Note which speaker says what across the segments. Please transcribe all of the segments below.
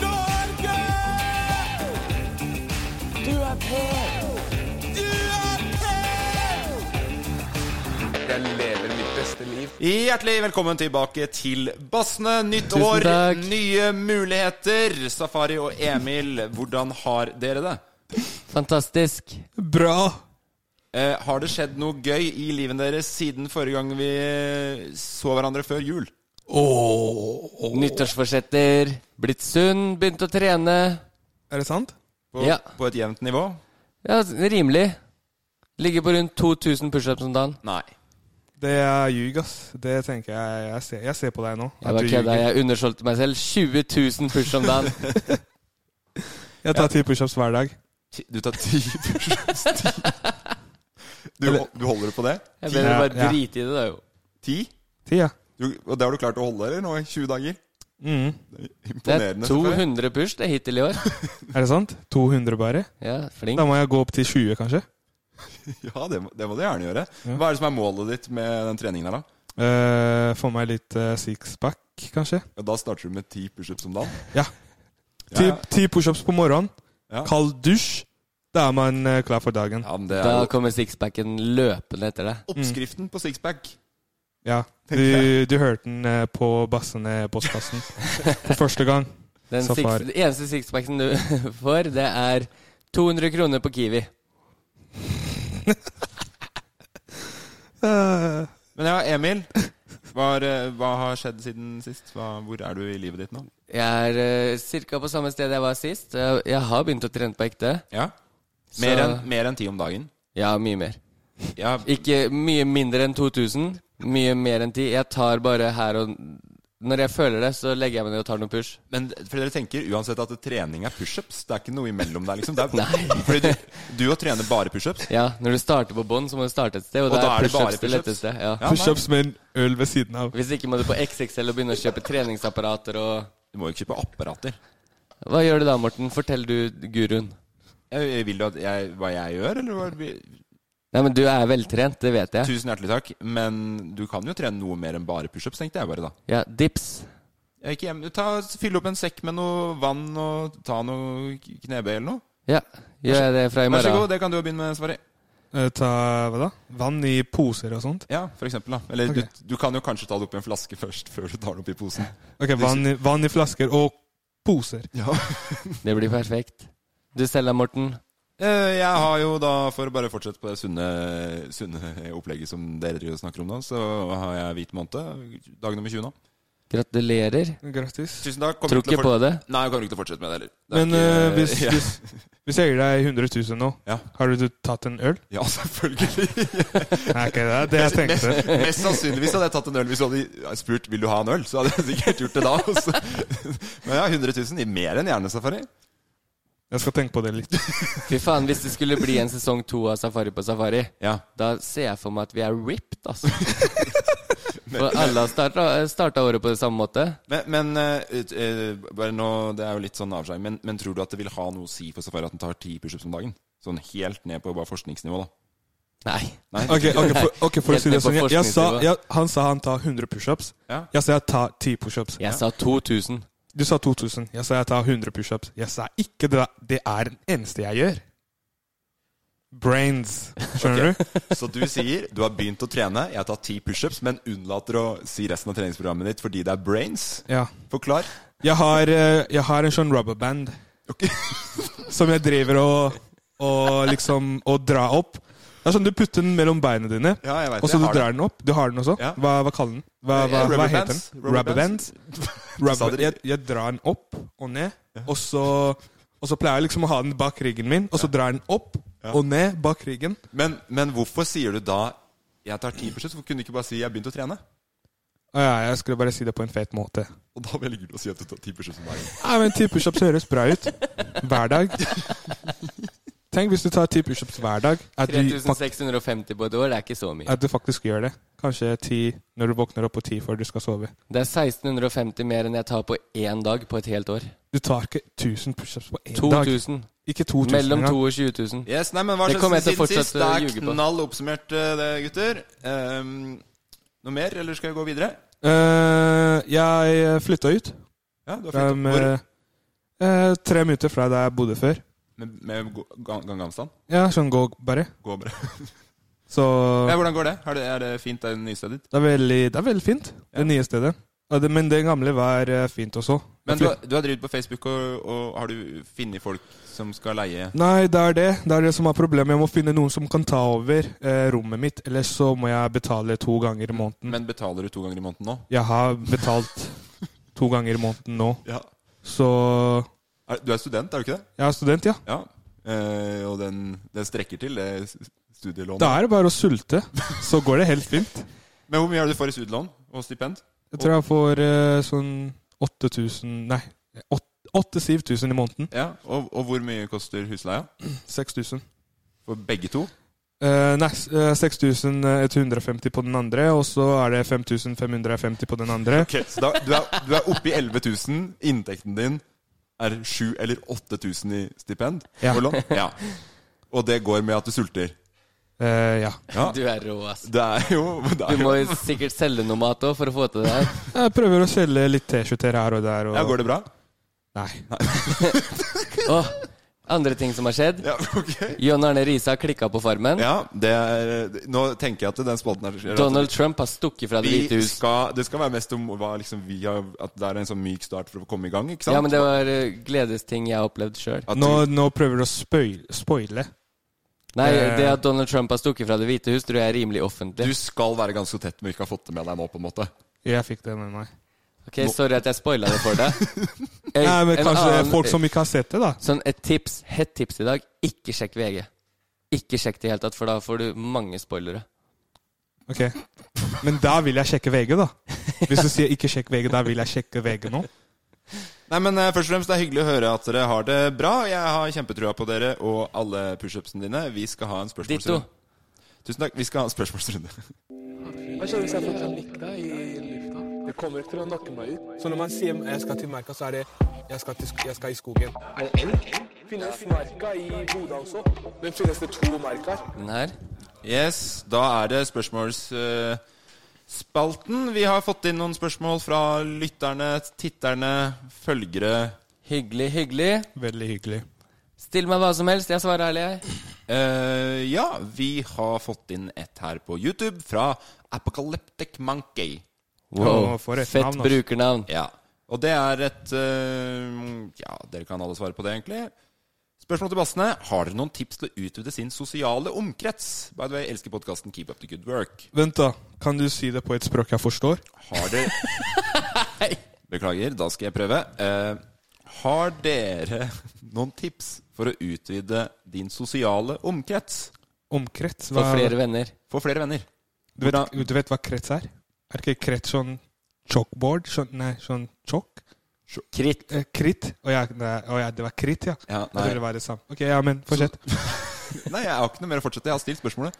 Speaker 1: Norge! Du er på! Du er på!
Speaker 2: Jeg lever mitt beste liv.
Speaker 1: Hjertelig velkommen tilbake til Bassene. Nytt
Speaker 3: Tusen
Speaker 1: år,
Speaker 3: takk.
Speaker 1: nye muligheter. Safari og Emil, hvordan har dere det?
Speaker 3: Fantastisk.
Speaker 4: Bra.
Speaker 1: Eh, har det skjedd noe gøy i livet deres siden forrige gang vi eh, så hverandre før jul?
Speaker 4: Åh.
Speaker 3: Nyttårsforsetter. Blitt sunn, begynt å trene.
Speaker 4: Er det sant?
Speaker 1: På,
Speaker 3: Ja.
Speaker 1: på et jevnt nivå?
Speaker 3: Ja, rimelig. Ligger på rundt 2000 pushups om dagen.
Speaker 1: Nei.
Speaker 4: Det er ljug, ass. Det tenker jeg. Jeg ser, jeg ser på deg nå.
Speaker 3: Jeg bare
Speaker 4: du
Speaker 3: kødda.
Speaker 4: ljuger.
Speaker 3: Jeg undersolgte meg selv. 20 000 push om dagen.
Speaker 4: Jeg tar ti pushups hver dag.
Speaker 1: Ti- Du tar ti pushups. Du,
Speaker 4: Eller-
Speaker 1: du holder på det?
Speaker 3: Jeg ble bare
Speaker 4: Ja, ja.
Speaker 3: drite i det, da, jo.
Speaker 1: Ti?
Speaker 4: Ti, ja.
Speaker 1: Du, og det har du klart å holde, eller? Nå i 20 dager?
Speaker 4: Mm.
Speaker 3: Det er
Speaker 1: Imponerende. Safari.
Speaker 3: 200 push det hittil i år.
Speaker 4: Er det sant? 200 bare?
Speaker 3: Ja, flink.
Speaker 4: Da må jeg gå opp til 20, kanskje.
Speaker 1: Ja, det må, det må du gjerne gjøre. Hva er det som er målet ditt med den treningen her, da?
Speaker 4: Eh, få meg litt eh, sixpack, kanskje.
Speaker 1: Ja, da starter du med ti pushups om dagen.
Speaker 4: Ja. Ti,
Speaker 1: Ja, ja.
Speaker 4: ti pushups på morgenen.
Speaker 1: Ja.
Speaker 4: Kald dusj. Da er man eh, klar for dagen.
Speaker 1: Ja, men det er
Speaker 3: Da
Speaker 1: jo
Speaker 3: kommer sixpacken løpende etter deg.
Speaker 1: oppskriften på sixpack.
Speaker 4: Ja. Du, du hørte den eh, på bassene i postkassen for første gang.
Speaker 3: Den six,
Speaker 4: Safari.
Speaker 3: den eneste sixpacken du får, det er 200 kroner på Kiwi.
Speaker 4: Eh,
Speaker 1: Men ja, Emil. Hva, er, eh, hva har skjedd siden sist? Hva, hvor er du i livet ditt nå?
Speaker 3: Jeg er uh, ca. på samme sted jeg var sist. Jeg, jeg har begynt å trene på ekte.
Speaker 1: Ja.
Speaker 3: Så-
Speaker 1: Mer enn mer enn ti om dagen.
Speaker 3: Ja, mye mer.
Speaker 1: Ja,
Speaker 3: Ikke mye mindre enn 2000. Mye mer enn 10. Jeg tar bare her og Når jeg føler det, så legger jeg meg ned og tar noen push.
Speaker 1: men for dere tenker uansett at trening er pushups. Det er ikke noe imellom der, liksom. Det er, Fordi du, du og trener bare pushups.
Speaker 3: Ja, Når du starter på bånn, så må du starte et sted, og,
Speaker 1: Og
Speaker 3: da
Speaker 1: da er
Speaker 3: er
Speaker 1: det bare
Speaker 3: pushups det
Speaker 1: push-ups.
Speaker 3: letteste.
Speaker 1: Ja,
Speaker 3: Ja.
Speaker 1: nei.
Speaker 4: pushups med en øl ved siden av.
Speaker 3: Hvis ikke må du på XXL og begynne å kjøpe treningsapparater og
Speaker 1: Du må jo ikke kjøpe apparater.
Speaker 3: Hva gjør du da, Morten? Fortell du guruen.
Speaker 1: Jeg, jeg vil jo at jeg, hva jeg gjør, eller hva
Speaker 3: Nei, men du er veltrent, det vet jeg.
Speaker 1: Tusen hjertelig takk. Men du kan jo trene noe mer enn bare pushups, tenkte jeg bare da.
Speaker 3: Ja, dips.
Speaker 1: Jeg gikk hjem, ta, Fyll opp en sekk med noe vann og ta noe knebøy eller noe.
Speaker 3: Ja, gjør jeg det fra i
Speaker 1: Vær så
Speaker 3: morgen?
Speaker 1: god, det kan du jo begynne med, Safari.
Speaker 4: Eh, Ta hva da? Vann i poser og sånt?
Speaker 1: Ja, for eksempel, da. Eller
Speaker 4: Ok.
Speaker 1: du, du kan jo kanskje ta det opp i en flaske først, før du tar det opp i posen.
Speaker 4: Ok, vann, i- vann i flasker og poser.
Speaker 3: Det blir perfekt. Du selv da, Morten?
Speaker 1: Eh, Jeg har jo da, for å bare fortsette på det sunne, sunne opplegget som dere driver og snakker om nå, så har jeg hvit måned. Dag nummer 20 nå.
Speaker 3: Gratulerer.
Speaker 4: Grattis.
Speaker 1: Tusen takk. Kommer
Speaker 3: Tror
Speaker 1: ikke til
Speaker 3: ikke
Speaker 1: å
Speaker 3: på
Speaker 1: fort-
Speaker 3: det.
Speaker 1: Nei, jeg kommer ikke til å fortsette med det heller. Det er
Speaker 4: Men
Speaker 1: ikke-
Speaker 4: eh, hvis,
Speaker 1: ja.
Speaker 4: hvis, hvis jeg gir deg 100 000 nå,
Speaker 1: Ja.
Speaker 4: har du tatt en øl?
Speaker 1: ja, selvfølgelig.
Speaker 4: Nei, ikke det er det jeg tenkte.
Speaker 1: Mest sannsynligvis hadde jeg tatt en øl hvis du hadde spurt Vil du ha en øl. Så hadde jeg sikkert gjort det da. og så- Men ja, 100 000 i mer enn gjerne safari.
Speaker 4: Jeg skal tenke på det litt.
Speaker 3: Fy faen, hvis det skulle bli en sesong to av Safari på Safari,
Speaker 1: Ja,
Speaker 3: da ser jeg for meg at vi er ripped, altså. For alle har starta, starta året på samme måte.
Speaker 1: Men, men eh, ut- eh, bare nå, det er jo litt sånn avskjæring, men, men tror du at det vil ha noe å si for Safari at den tar ti pushups om dagen? Sånn helt ned på bare forskningsnivå, da.
Speaker 3: Nei.
Speaker 1: Nei,
Speaker 4: Ok, ok, for, ok, for å
Speaker 3: Helt
Speaker 4: si det
Speaker 3: ned på
Speaker 4: sånn jeg, jeg sa,
Speaker 3: forskningsnivå.
Speaker 4: jeg, Han sa han tar 100 pushups.
Speaker 1: Ja.
Speaker 4: Jeg sa jeg tar 10 pushups.
Speaker 3: Jeg sa 2000.
Speaker 4: Du sa 2000. Jeg sa jeg tar 100 pushups. Jeg sa ikke det. Det er den eneste jeg gjør. Brains. Skjønner du?
Speaker 1: Så du sier du har begynt å trene, jeg tar ti pushups, men unnlater å si resten av treningsprogrammet ditt fordi det er brains?
Speaker 4: Ja.
Speaker 1: Forklar.
Speaker 4: Jeg har, eh, jeg har en sånn rubberband som jeg driver og, og liksom og drar opp. Det er sånn Du putter den mellom beina dine,
Speaker 1: Ja, jeg vet
Speaker 4: og
Speaker 1: det.
Speaker 4: så
Speaker 1: Jeg
Speaker 4: du
Speaker 1: har
Speaker 4: drar den opp. Du har den også.
Speaker 1: Ja. Eh,
Speaker 4: Hva, hva kaller den? Hva, hva,
Speaker 1: Rubber
Speaker 4: hva heter den?
Speaker 1: bands. Rubber
Speaker 4: Rubberbands.
Speaker 1: Sa
Speaker 4: Rubber,
Speaker 1: dere-
Speaker 4: jeg, jeg drar den opp og ned, og så, og så pleier jeg liksom å ha den bak ryggen min. Og så drar jeg den opp og ned bak ryggen.
Speaker 1: Men, men hvorfor sier du da 'jeg tar ti pushups'? Hvorfor kunne du ikke bare si 'jeg har begynt å trene'?
Speaker 4: Å ja, jeg skulle bare si det på en fet måte.
Speaker 1: Og da velger du å si at du tar ti pushups om dagen.
Speaker 4: Nei, men ti pushups høres bra ut. Hver dag. Tenk hvis du tar ti pushups hver dag. At du, fak
Speaker 3: 3650 på et år, det er ikke så mye.
Speaker 4: at du faktisk gjør det. Kanskje ti når du våkner opp, og ti før du skal sove.
Speaker 3: Det er 1650 mer enn jeg tar på én dag på et helt år.
Speaker 4: Du tar ikke 1000 pushups på én dag.
Speaker 3: 2000.
Speaker 4: Ikke 2000
Speaker 3: Mellom
Speaker 4: engang.
Speaker 3: 2 og 20 000.
Speaker 1: Yes, nei, men hva
Speaker 3: Det
Speaker 1: slags
Speaker 3: kommer jeg til å
Speaker 1: siden sist?
Speaker 3: fortsette
Speaker 1: Det
Speaker 3: å
Speaker 1: er
Speaker 3: ljuge på.
Speaker 1: knall oppsummert, eh, det, gutter. Ehm, noe mer, eller skal jeg gå videre?
Speaker 4: Eh, jeg flytta ut.
Speaker 1: Ja, du har
Speaker 4: Fra,
Speaker 1: fint
Speaker 4: med,
Speaker 1: oppord.
Speaker 4: eh, tre minutter fra der jeg bodde før.
Speaker 1: Med, med gå- gang- gangavstand?
Speaker 4: Ja, sånn gå bare.
Speaker 1: Går bra.
Speaker 4: Så
Speaker 1: Ja, hvordan går det? Er det, er det fint, det nye stedet ditt?
Speaker 4: det er veldig, det er veldig fint, det nye stedet. Og det, men det gamle var eh, fint også.
Speaker 1: Men
Speaker 4: Jeg
Speaker 1: du,
Speaker 4: flyt-
Speaker 1: har- du har drevet på Facebook, og, og har du funnet folk som skal leie
Speaker 4: Nei, det er det. Det er det som er problemet. Jeg må finne noen som kan ta over eh, rommet mitt, ellers så må jeg betale to ganger i måneden.
Speaker 1: Men betaler du to ganger i måneden nå?
Speaker 4: Jeg har betalt to ganger i måneden nå,
Speaker 1: Ja.
Speaker 4: så
Speaker 1: Er, du er student, er du ikke det?
Speaker 4: Jeg er student, ja.
Speaker 1: Ja. Eh, og den, den strekker til, det s- studielånet.
Speaker 4: Da er det bare å sulte, så går det helt fint.
Speaker 1: Men hvor mye er det du får i studielån og stipend?
Speaker 4: Jeg tror jeg får eh, sånn 8000 Nei, 8000-7000 i måneden.
Speaker 1: Ja, og, og hvor mye koster husleia?
Speaker 4: 6000.
Speaker 1: For begge to?
Speaker 4: Eh, nei, s- eh, 6150 på den andre, og så er det 5550 på den andre.
Speaker 1: Ok, så da, du, er, du er oppe i 11 000. Inntekten din er 7 eller 8000 i stipend.
Speaker 4: Ja.
Speaker 1: og lån. ja. Og det går med at du sulter.
Speaker 4: Eh, ja.
Speaker 1: Ja.
Speaker 3: Du er rå, ass.
Speaker 1: Det er jo, det er
Speaker 3: Du må
Speaker 1: jo
Speaker 3: jo sikkert selge noe mat òg for å få til det her.
Speaker 4: Jeg prøver å selge litt T-skjorter her og der. Og...
Speaker 1: ja, Går det bra?
Speaker 4: Nei.
Speaker 3: Åh, andre ting som har skjedd.
Speaker 1: Ja, ok.
Speaker 3: John Arne Riise har klikka på Farmen.
Speaker 1: Ja, det er, nå tenker jeg at den spalten her at
Speaker 3: Donald Trump har stukket fra Det
Speaker 1: vi
Speaker 3: hvite hus.
Speaker 1: skal, Det skal være mest om hva liksom vi har At det er en sånn myk start for å komme i gang, ikke sant?
Speaker 3: Ja, men det var eh, gledesting jeg har opplevd sjøl.
Speaker 1: At-
Speaker 4: Nå, nå prøver du å spøy- spoile.
Speaker 3: Nei,
Speaker 4: Eh.
Speaker 3: det at Donald Trump har stukket fra Det hvite hus, tror jeg er rimelig
Speaker 1: Du
Speaker 3: offentlig.
Speaker 1: skal være ganske tett med ikke har fått det med deg nå, på en måte.
Speaker 4: Jeg fikk det med meg.
Speaker 3: Ok, Sorry at jeg spoila det for deg. Eh,
Speaker 4: Nei, men
Speaker 3: en
Speaker 4: Kanskje
Speaker 3: annen-
Speaker 4: folk som ikke har sett det, da.
Speaker 3: Sånn et tips, hett tips i dag, ikke sjekk VG. Ikke sjekk det i hele tatt, for da får du mange spoilere.
Speaker 4: Ok. Men da vil jeg sjekke VG, da. Hvis du sier 'ikke sjekk VG', da vil jeg sjekke VG nå.
Speaker 1: Nei, men eh, først og fremst, Det er hyggelig å høre at dere har det bra. Jeg har kjempetrua på dere og alle pushupsene dine. Vi skal ha en
Speaker 3: Ditto.
Speaker 1: spørsmålsrunde. Tusen takk. Vi skal ha en spørsmålsrunde.
Speaker 2: Hva skjer hvis jeg får panikk da i lufta? Det kommer ikke til å nakke meg ut.
Speaker 5: Så når man sier 'jeg skal til merka', så er det 'jeg skal, til, sk- jeg skal i skogen'.
Speaker 2: Er det elg? Finnes merka i Bodø også? Men finnes det to merker?
Speaker 3: Den her.
Speaker 1: Yes, Da er det spørsmålsspalten. Vi har fått inn noen spørsmål fra lytterne, titterne, følgere.
Speaker 3: Hyggelig, hyggelig.
Speaker 4: Veldig hyggelig.
Speaker 3: Still meg hva som helst, jeg svarer ærlig, jeg.
Speaker 1: Eh, ja, vi har fått inn et her på YouTube fra Apocalyptic Monkey.
Speaker 4: Wow. Å, for et
Speaker 3: Fett
Speaker 4: navn, altså.
Speaker 3: brukernavn.
Speaker 1: Ja. Og det er et eh, Ja, dere kan alle svare på det, egentlig. Spørsmål til bassene. Har dere noen tips til å utvide sin sosiale omkrets? By the way, jeg elsker podkasten Keep up the good work.
Speaker 4: Vent, da. Kan du si det på et språk jeg forstår?
Speaker 1: Har dere Beklager, da skal jeg prøve. Eh, har dere noen tips for å utvide din sosiale omkrets?
Speaker 4: Omkrets?
Speaker 3: For flere venner.
Speaker 1: Få flere venner.
Speaker 4: Du vet, du vet hva krets er? Er ikke krets sånn chalkboard? Sånn, nei, sånn chalk?
Speaker 3: Kritt.
Speaker 4: Eh, kritt? Å ja, nei, å ja, det var kritt, ja.
Speaker 1: Ja,
Speaker 4: Jeg
Speaker 1: nei.
Speaker 4: trodde det var det samme. Ok, ja, men fortsett.
Speaker 1: Nei, jeg har ikke noe mer å fortsette. Jeg har stilt spørsmålet.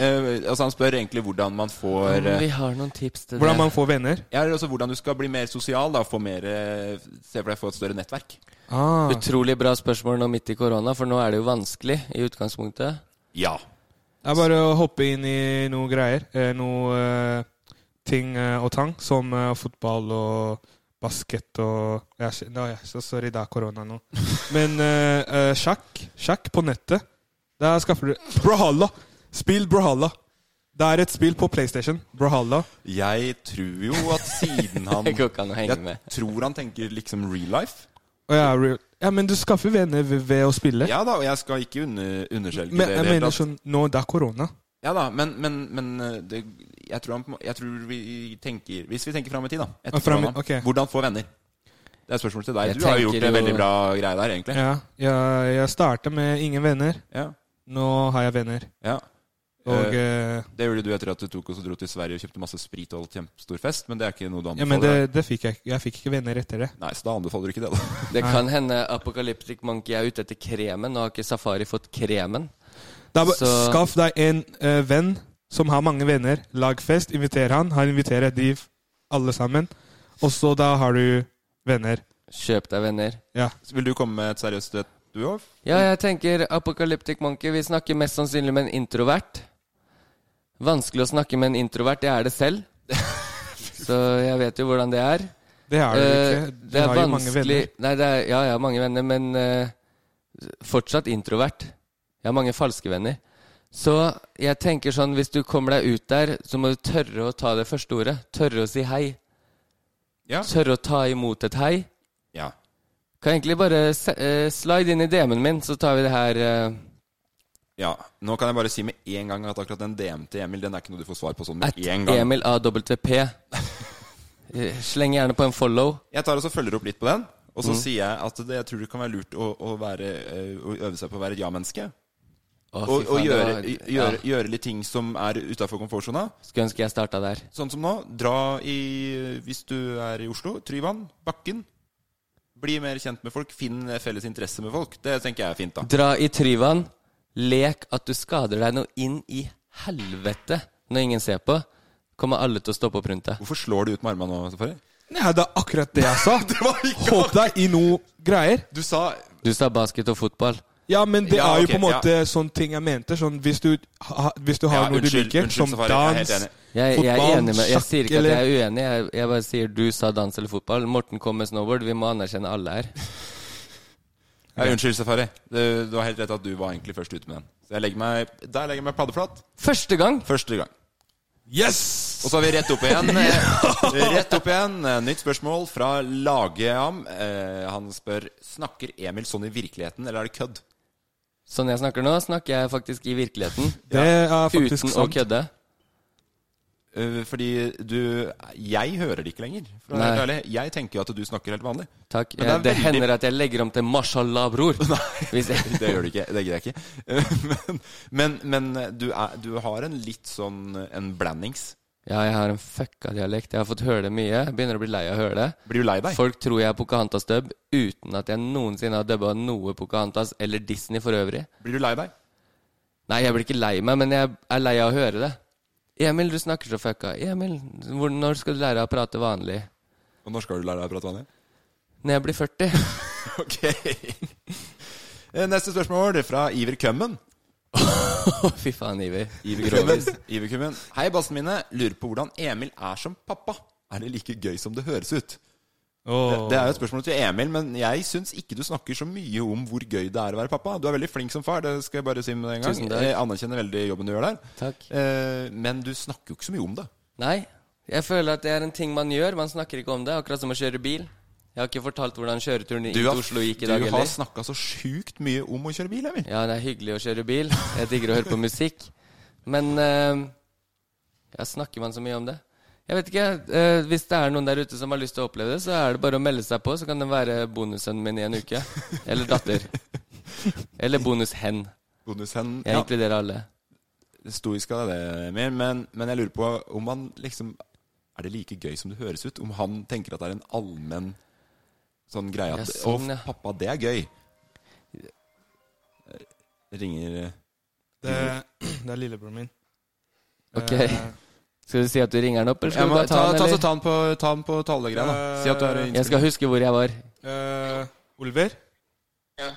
Speaker 1: eh, altså Han spør egentlig hvordan man får
Speaker 3: Om
Speaker 1: eh,
Speaker 3: vi har noen tips til
Speaker 4: Hvordan
Speaker 3: det.
Speaker 4: man får venner.
Speaker 1: ja, altså Hvordan du skal bli mer sosial. da få mer, eh, Se for deg få et større nettverk.
Speaker 4: Ah.
Speaker 3: Utrolig bra spørsmål nå midt i korona, for nå er det jo vanskelig i utgangspunktet.
Speaker 1: Ja.
Speaker 4: Det er bare å hoppe inn i noen greier. eh, Noe eh, ting eh, og tang, som eh, fotball og basket og ja, sh- no, ja, så Sorry, det er korona nå. Men eh, eh, sjakk sjakk på nettet. Der skaffer du Brawlhalla! Spill Brawlhalla. Det er et spill på PlayStation. Brawlhalla.
Speaker 1: Jeg tror jo at siden han
Speaker 3: Det går ikke an å henge
Speaker 1: Jeg
Speaker 3: med.
Speaker 1: tror han tenker liksom real life.
Speaker 4: Og ja, real- ja, men du skaffer venner ved, ved å spille.
Speaker 1: Ja da, og jeg skal ikke under, underskjelke
Speaker 4: men
Speaker 1: det. i
Speaker 4: jeg
Speaker 1: det hele
Speaker 4: mener
Speaker 1: tatt.
Speaker 4: sånn Nå, det er korona.
Speaker 1: Ja da, men, men, men eh, det, jeg, tror han, på en må- jeg tror vi tenker Hvis vi tenker fram i tid, da. Etter
Speaker 4: Ah, frem i-
Speaker 1: korona,
Speaker 4: ok.
Speaker 1: Hvordan få venner? Det er et spørsmål til deg.
Speaker 3: Jeg
Speaker 1: Du har jo
Speaker 3: tenker
Speaker 1: gjort en
Speaker 3: jo-
Speaker 1: veldig bra greie der, egentlig.
Speaker 4: Ja, jeg, jeg starta med ingen venner.
Speaker 1: Ja.
Speaker 4: Nå har jeg venner.
Speaker 1: ja.
Speaker 4: Og eh,
Speaker 1: Det gjorde du etter at du tok og så dro til Sverige og kjøpte masse sprit og holdt kjempestor fest, men det er ikke noe du
Speaker 4: Ja,
Speaker 1: anbefaler?
Speaker 4: men det,
Speaker 1: deg.
Speaker 4: det fikk jeg ikke. Jeg fikk ikke venner etter det.
Speaker 1: Nei, så da anbefaler du ikke det, da.
Speaker 3: Det kan hende Apocalyptic Monkey er ute etter kremen. Nå har ikke Safari fått kremen.
Speaker 4: det er bare,
Speaker 3: Så-
Speaker 4: Skaff deg en eh, venn som har mange venner. Lag fest, inviter han. Han inviterer de f- alle sammen. Og så da har du venner.
Speaker 3: Kjøp deg venner.
Speaker 4: Ja.
Speaker 1: Så Vil du komme med et seriøst et, du òg?
Speaker 3: Ja, jeg tenker Apocalyptic Monkey Vi snakker mest sannsynlig med en introvert. Vanskelig å snakke med en introvert. Jeg er det selv. Så jeg vet jo hvordan det er.
Speaker 4: Det har du
Speaker 3: Eh,
Speaker 4: ikke. Du
Speaker 3: det er
Speaker 4: har jo mange
Speaker 3: vanskelig
Speaker 4: venner.
Speaker 3: Nei, det er, ja, jeg har mange venner, men eh, fortsatt introvert. Jeg har mange falske venner. Så jeg tenker sånn, hvis du kommer deg ut der, så må du tørre å ta det første ordet. Tørre å si hei.
Speaker 1: Ja.
Speaker 3: Tørre å ta imot et hei.
Speaker 1: ja.
Speaker 3: Kan egentlig bare se, eh, slide inn i DM-en min, så tar vi det her eh,
Speaker 1: Ja. Nå kan jeg bare si med en gang at akkurat den DM til Emil, den er ikke noe du får svar på sånn
Speaker 3: at
Speaker 1: med en gang.
Speaker 3: Emil AWP. Eh, Sleng gjerne på en follow.
Speaker 1: Jeg tar og så følger opp litt på den, og
Speaker 3: Mm.
Speaker 1: så sier jeg at det, jeg tror det kan være lurt å, å, være, eh, å øve seg på å være et ja-menneske.
Speaker 3: Å,
Speaker 1: Og,
Speaker 3: fy
Speaker 1: og
Speaker 3: faen, det
Speaker 1: gjøre,
Speaker 3: var-
Speaker 1: gjøre,
Speaker 3: ja.
Speaker 1: gjøre litt ting som er utafor komfortsona.
Speaker 3: Skulle ønske jeg starta der.
Speaker 1: Sånn som nå, dra i Hvis du er i Oslo, Tryvann, Bakken. Bli mer kjent med folk, finn felles interesse med folk. Det tenker jeg er fint, da.
Speaker 3: Dra i Tryvann. Lek at du skader deg noe inn i helvete når ingen ser på. Kommer alle til å stoppe opp rundt deg.
Speaker 1: Hvorfor slår du ut med armene nå, Safari?
Speaker 4: Nei, det er akkurat det jeg sa.
Speaker 1: Det var ikke
Speaker 4: Hopp deg i noe greier.
Speaker 1: Du sa
Speaker 3: Du sa basket og fotball.
Speaker 4: Ja, men det
Speaker 1: Ja,
Speaker 4: er jo
Speaker 1: ok,
Speaker 4: på en måte sånn ting jeg mente. Sånn, hvis, du, ha, hvis du har
Speaker 1: Ja,
Speaker 4: noe du
Speaker 1: unnskyld,
Speaker 4: liker,
Speaker 1: unnskyld,
Speaker 4: som
Speaker 1: Safari, jeg er helt
Speaker 4: dans,
Speaker 1: enig.
Speaker 3: Jeg, jeg er enig med Jeg sier ikke at
Speaker 4: eller-
Speaker 3: jeg er uenig, jeg, jeg bare sier du sa dans eller fotball. Morten kom med snowboard. Vi må anerkjenne alle her.
Speaker 1: Nei, Unnskyld, Safari. Du, du har helt rett at du var egentlig først ute med den. Så jeg legger meg, der legger jeg meg paddeflat.
Speaker 3: Første gang!
Speaker 1: Første gang.
Speaker 4: Yes!
Speaker 1: Og så er vi rett opp igjen. eh, Rett opp igjen Eh, Nytt spørsmål fra Lageam. Eh, Han spør Snakker Emil sånn i virkeligheten, eller er det kødd?
Speaker 3: Sånn jeg snakker nå, snakker jeg faktisk i virkeligheten.
Speaker 4: Det er faktisk
Speaker 3: Uten å
Speaker 4: sant.
Speaker 3: kødde.
Speaker 1: Eh, Fordi du Jeg hører det ikke lenger. For å være helt ærlig Jeg tenker jo at du snakker helt vanlig.
Speaker 3: Takk.
Speaker 1: Men det
Speaker 3: Jeg, det
Speaker 1: er veldig-
Speaker 3: hender at jeg legger om til mashallah, bror. Hvis jeg,
Speaker 1: Det gjør du ikke. Det gidder jeg ikke. Eh, Men, men, men du, er, du har en litt sånn eh, En blandings.
Speaker 3: ja, jeg har en fucka dialekt. Jeg har fått høre det mye. Begynner å bli lei av å høre det.
Speaker 1: Blir du lei deg?
Speaker 3: Folk tror jeg er Pocahontas-dubb uten at jeg noensinne har dubba noe Pocahontas eller Disney for øvrig.
Speaker 1: Blir du lei deg?
Speaker 3: Nei, jeg blir ikke lei meg, men jeg er lei av å høre det. Emil, du snakker så fucka. Emil, hvor, når skal du lære deg å prate vanlig?
Speaker 1: Og når skal du lære deg å prate vanlig?
Speaker 3: Når jeg blir 40.
Speaker 1: Ok. Eh, Neste spørsmål det er fra Iver Kømmen.
Speaker 3: Å, fy faen, Iver.
Speaker 1: Iver Kummen. Iver Kummen. Hei, bassene mine. Lurer på hvordan Emil er som pappa. Er det like gøy som det høres ut? Det, det er jo et spørsmål til Emil, men jeg syns ikke du snakker så mye om hvor gøy det er å være pappa. Du er veldig flink som far, det skal jeg bare si med en gang.
Speaker 3: Tusen takk.
Speaker 1: Jeg anerkjenner veldig jobben du gjør der.
Speaker 3: Takk.
Speaker 1: Eh, men du snakker jo ikke så mye om det.
Speaker 3: Nei. Jeg føler at det er en ting man gjør. Man snakker ikke om det. Akkurat som å kjøre bil. Jeg har ikke fortalt hvordan kjøreturen inn til Oslo gikk i dag
Speaker 1: du har
Speaker 3: heller.
Speaker 1: snakka så sjukt mye om å kjøre bil, Emil.
Speaker 3: Ja, det er hyggelig å kjøre bil. Jeg digger å høre på musikk. Men eh, ja, snakker man så mye om det? Jeg vet ikke. eh, hvis det er noen der ute som har lyst til å oppleve det, så er det bare å melde seg på. Så kan den være bonussønnen min i en uke. Eller datter. Eller bonushen.
Speaker 1: Bonushend.
Speaker 3: Jeg inkluderer alle.
Speaker 1: stoisk av det, Emil, men, men jeg lurer på om han liksom Er det like gøy som det høres ut? Om han tenker at det er en allmenn sånn greie
Speaker 3: Ja,
Speaker 1: at Å,
Speaker 3: sånn, ja.
Speaker 1: pappa, det er gøy. Ringer eh,
Speaker 4: Det, det er lillebroren min.
Speaker 3: Ok.
Speaker 4: Eh,
Speaker 3: Skal du si at du ringer han opp, eller
Speaker 1: Ja,
Speaker 3: skal du
Speaker 1: men,
Speaker 3: bare
Speaker 1: ta,
Speaker 3: ta han,
Speaker 1: ta, så
Speaker 3: eller?
Speaker 1: ta han på, ta han på talegreia, da. Si at du er
Speaker 3: Jeg skal huske hvor jeg var.
Speaker 4: eh, Oliver?
Speaker 2: Ja.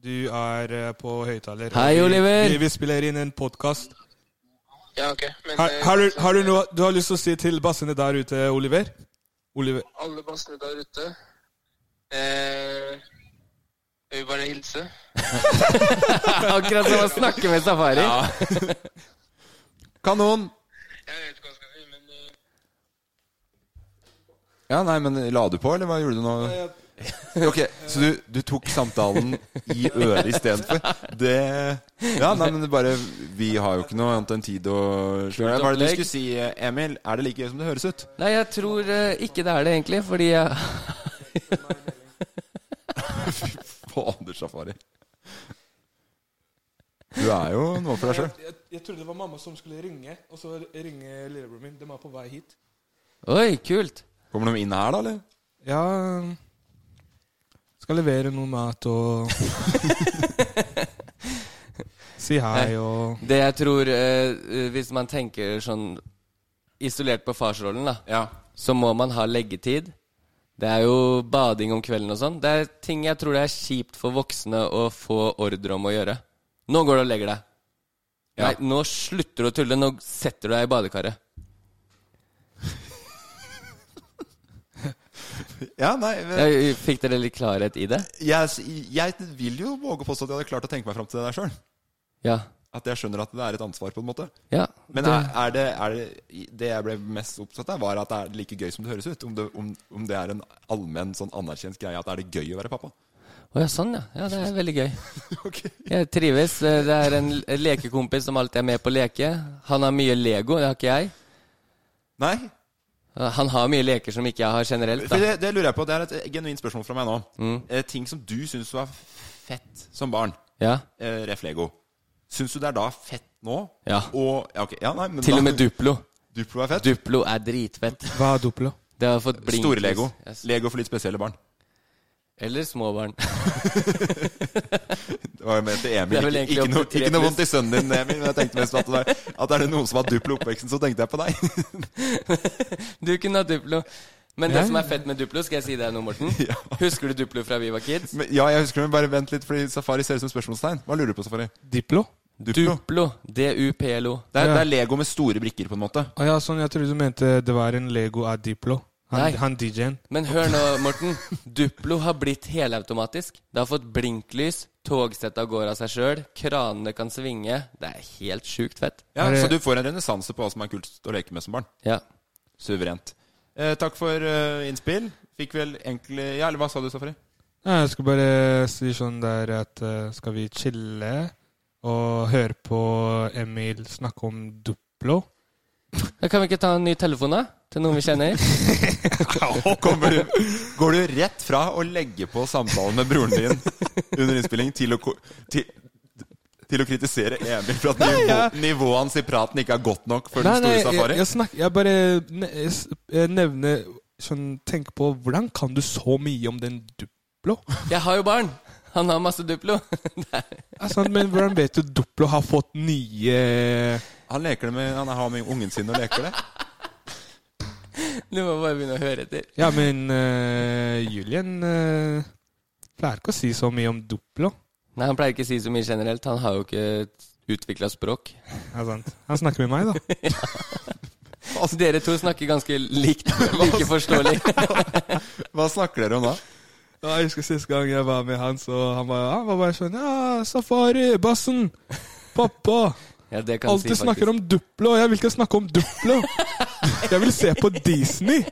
Speaker 4: Du er eh, på høyttaler.
Speaker 3: Hei,
Speaker 4: Vi-
Speaker 3: Oliver.
Speaker 4: Vi, vi spiller inn en podkast.
Speaker 2: Ja, ok. Men
Speaker 4: Har,
Speaker 2: eh,
Speaker 4: har, du, har du noe du har lyst til å si til bassene der ute, Oliver? Oliver.
Speaker 2: alle bassene der ute eh, Jeg vil bare hilse.
Speaker 3: Akkurat som å snakke med Safari.
Speaker 1: Kanon!
Speaker 2: Jeg vet ikke hva jeg skal si, men eh,
Speaker 1: Ja, nei, men la du på, eller hva gjorde du nå? Ok, Så du, du tok samtalen i øret istedenfor? Det Ja, nei, men det bare Vi har jo ikke noe annet enn tid å slå Hva er det du skulle si, Emil? Er det like gøy som det høres ut?
Speaker 3: Nei, jeg tror eh, ikke det er det, egentlig, fordi jeg
Speaker 1: Fader, Safari. Du er jo noe for deg sjøl.
Speaker 4: Jeg, trodde det var mamma som skulle ringe, og så ringe lillebroren min. De er på vei hit.
Speaker 3: Oi, kult.
Speaker 1: Kommer de inn her, da, eller?
Speaker 4: Ja Skal levere noe mat og Si hei og
Speaker 3: Det jeg tror eh, Hvis man tenker sånn isolert på farsrollen, da, så må man ha leggetid. Det er jo bading om kvelden og sånn. Det er ting jeg tror det er kjipt for voksne å få ordre om å gjøre. Nå går du og legger deg. Nei, nå slutter du å tulle. Nå setter du deg i badekaret.
Speaker 1: Ja, nei men,
Speaker 3: Jeg, fikk dere litt klarhet i det?
Speaker 1: jeg, jeg vil jo våge å påstå at jeg hadde klart å tenke meg fram til det der sjøl.
Speaker 3: Ja.
Speaker 1: At jeg skjønner at det er et ansvar, på en måte.
Speaker 3: ja.
Speaker 1: Men
Speaker 3: det-
Speaker 1: er, er det, er det Det jeg ble mest opptatt av, var at det er like gøy som det høres ut. Om det, om, om det er en allmenn sånn anerkjent greie at er det gøy å være pappa?
Speaker 3: Å ja, sånn ja. Ja, det er veldig gøy. Jeg trives. Eh, Det er en l- lekekompis som alltid er med på leke. Han har mye Lego, det har ikke jeg.
Speaker 1: Nei?
Speaker 3: Eh, Han har mye leker som ikke jeg har generelt.
Speaker 1: For
Speaker 3: Da.
Speaker 1: det, det lurer jeg på. Det er et genuint spørsmål fra meg nå.
Speaker 3: Mm.
Speaker 1: Eh, ting som du syns var fett som barn,
Speaker 3: Ja.
Speaker 1: eh, ref. Lego, syns du det er da fett nå?
Speaker 3: Ja.
Speaker 1: Og ja, ok. ja, nei, men
Speaker 3: Til
Speaker 1: da,
Speaker 3: og med Duplo.
Speaker 1: Duplo er fett.
Speaker 3: Duplo er dritfett.
Speaker 4: Hva er Duplo?
Speaker 3: Det har fått blink.
Speaker 1: Store Lego.
Speaker 3: Yes.
Speaker 1: Lego for litt spesielle barn.
Speaker 3: Eller små barn.
Speaker 1: Det var jo ment til
Speaker 3: Det
Speaker 1: Emil.
Speaker 3: er vel
Speaker 1: Ikke,
Speaker 3: egentlig
Speaker 1: ikke,
Speaker 3: opp
Speaker 1: noe,
Speaker 3: til tre
Speaker 1: ikke noe
Speaker 3: pluss.
Speaker 1: vondt i sønnen din, Emil. Men jeg tenkte mest at, det var, at er det noen som har Duplo oppveksten, så tenkte jeg på deg.
Speaker 3: Du kunne ha Duplo. Men det
Speaker 4: Ja.
Speaker 3: som er fett med Duplo, skal jeg si deg nå, Morten. Husker du Duplo fra vi var kids?
Speaker 1: Men, ja, jeg husker det, men bare vent litt, fordi Safari ser ut som spørsmålstegn. Hva lurer du på, Safari?
Speaker 4: Diplo?
Speaker 1: Duplo.
Speaker 3: Duplo. D-u-p-l-o.
Speaker 1: Det, er,
Speaker 4: Ja.
Speaker 1: det er Lego med store brikker, på en måte.
Speaker 4: Å ja, sånn, jeg trodde du mente det var en Lego av Diplo.
Speaker 3: Nei.
Speaker 4: Han, han DJ-en.
Speaker 3: Men hør nå, Morten. Duplo har blitt helautomatisk. Det har fått blinklys, togsetta går av seg sjøl, kranene kan svinge. Det er helt sjukt fett.
Speaker 1: Ja,
Speaker 4: Er det-
Speaker 1: Så du får en renessanse på hva som er kult å leke med som barn.
Speaker 3: Ja.
Speaker 1: Suverent. Eh, takk for eh, innspill. Fikk vel egentlig Ja, eller hva sa du, Safari?
Speaker 4: Ja, jeg skal bare si sånn der at eh, skal vi chille og høre på Emil snakke om Duplo?
Speaker 3: Da kan vi ikke ta en ny telefon, da? Til noen vi kjenner?
Speaker 1: Kommer du, går du rett fra å legge på samtalen med broren din under innspilling til å, ko- til, til å kritisere Emil for at nivå, nivået hans i praten ikke er godt nok for den store
Speaker 4: jeg,
Speaker 1: Safari?
Speaker 4: jeg, snakker, jeg bare ne jeg s- jeg nevner sånn, Tenk på hvordan kan du så mye om den Duplo?
Speaker 3: Jeg har jo barn! Han har masse Duplo.
Speaker 4: Altså, men hvordan vet du Duplo har fått nye
Speaker 1: Han leker det med Han har med ungen sin og leker det.
Speaker 3: Du må bare begynne å høre etter.
Speaker 4: Ja, men eh, Julian eh, pleier ikke å si så mye om Duplo.
Speaker 3: Nei, han pleier ikke å si så mye generelt. Han har jo ikke utvikla språk.
Speaker 4: Ja, sant. Han snakker med meg, da.
Speaker 3: Altså, dere to snakker ganske likt. Like forståelig.
Speaker 1: Hva snakker dere om da?
Speaker 4: Ja, jeg husker sist gang jeg var med han, så han var, han var bare sånn Ja, safari, bassen, pappa.
Speaker 3: Ja, det kan
Speaker 4: Alltid
Speaker 3: du si,
Speaker 4: snakker
Speaker 3: faktisk.
Speaker 4: om Duplo. Jeg vil ikke snakke om Duplo. Jeg vil se på Disney.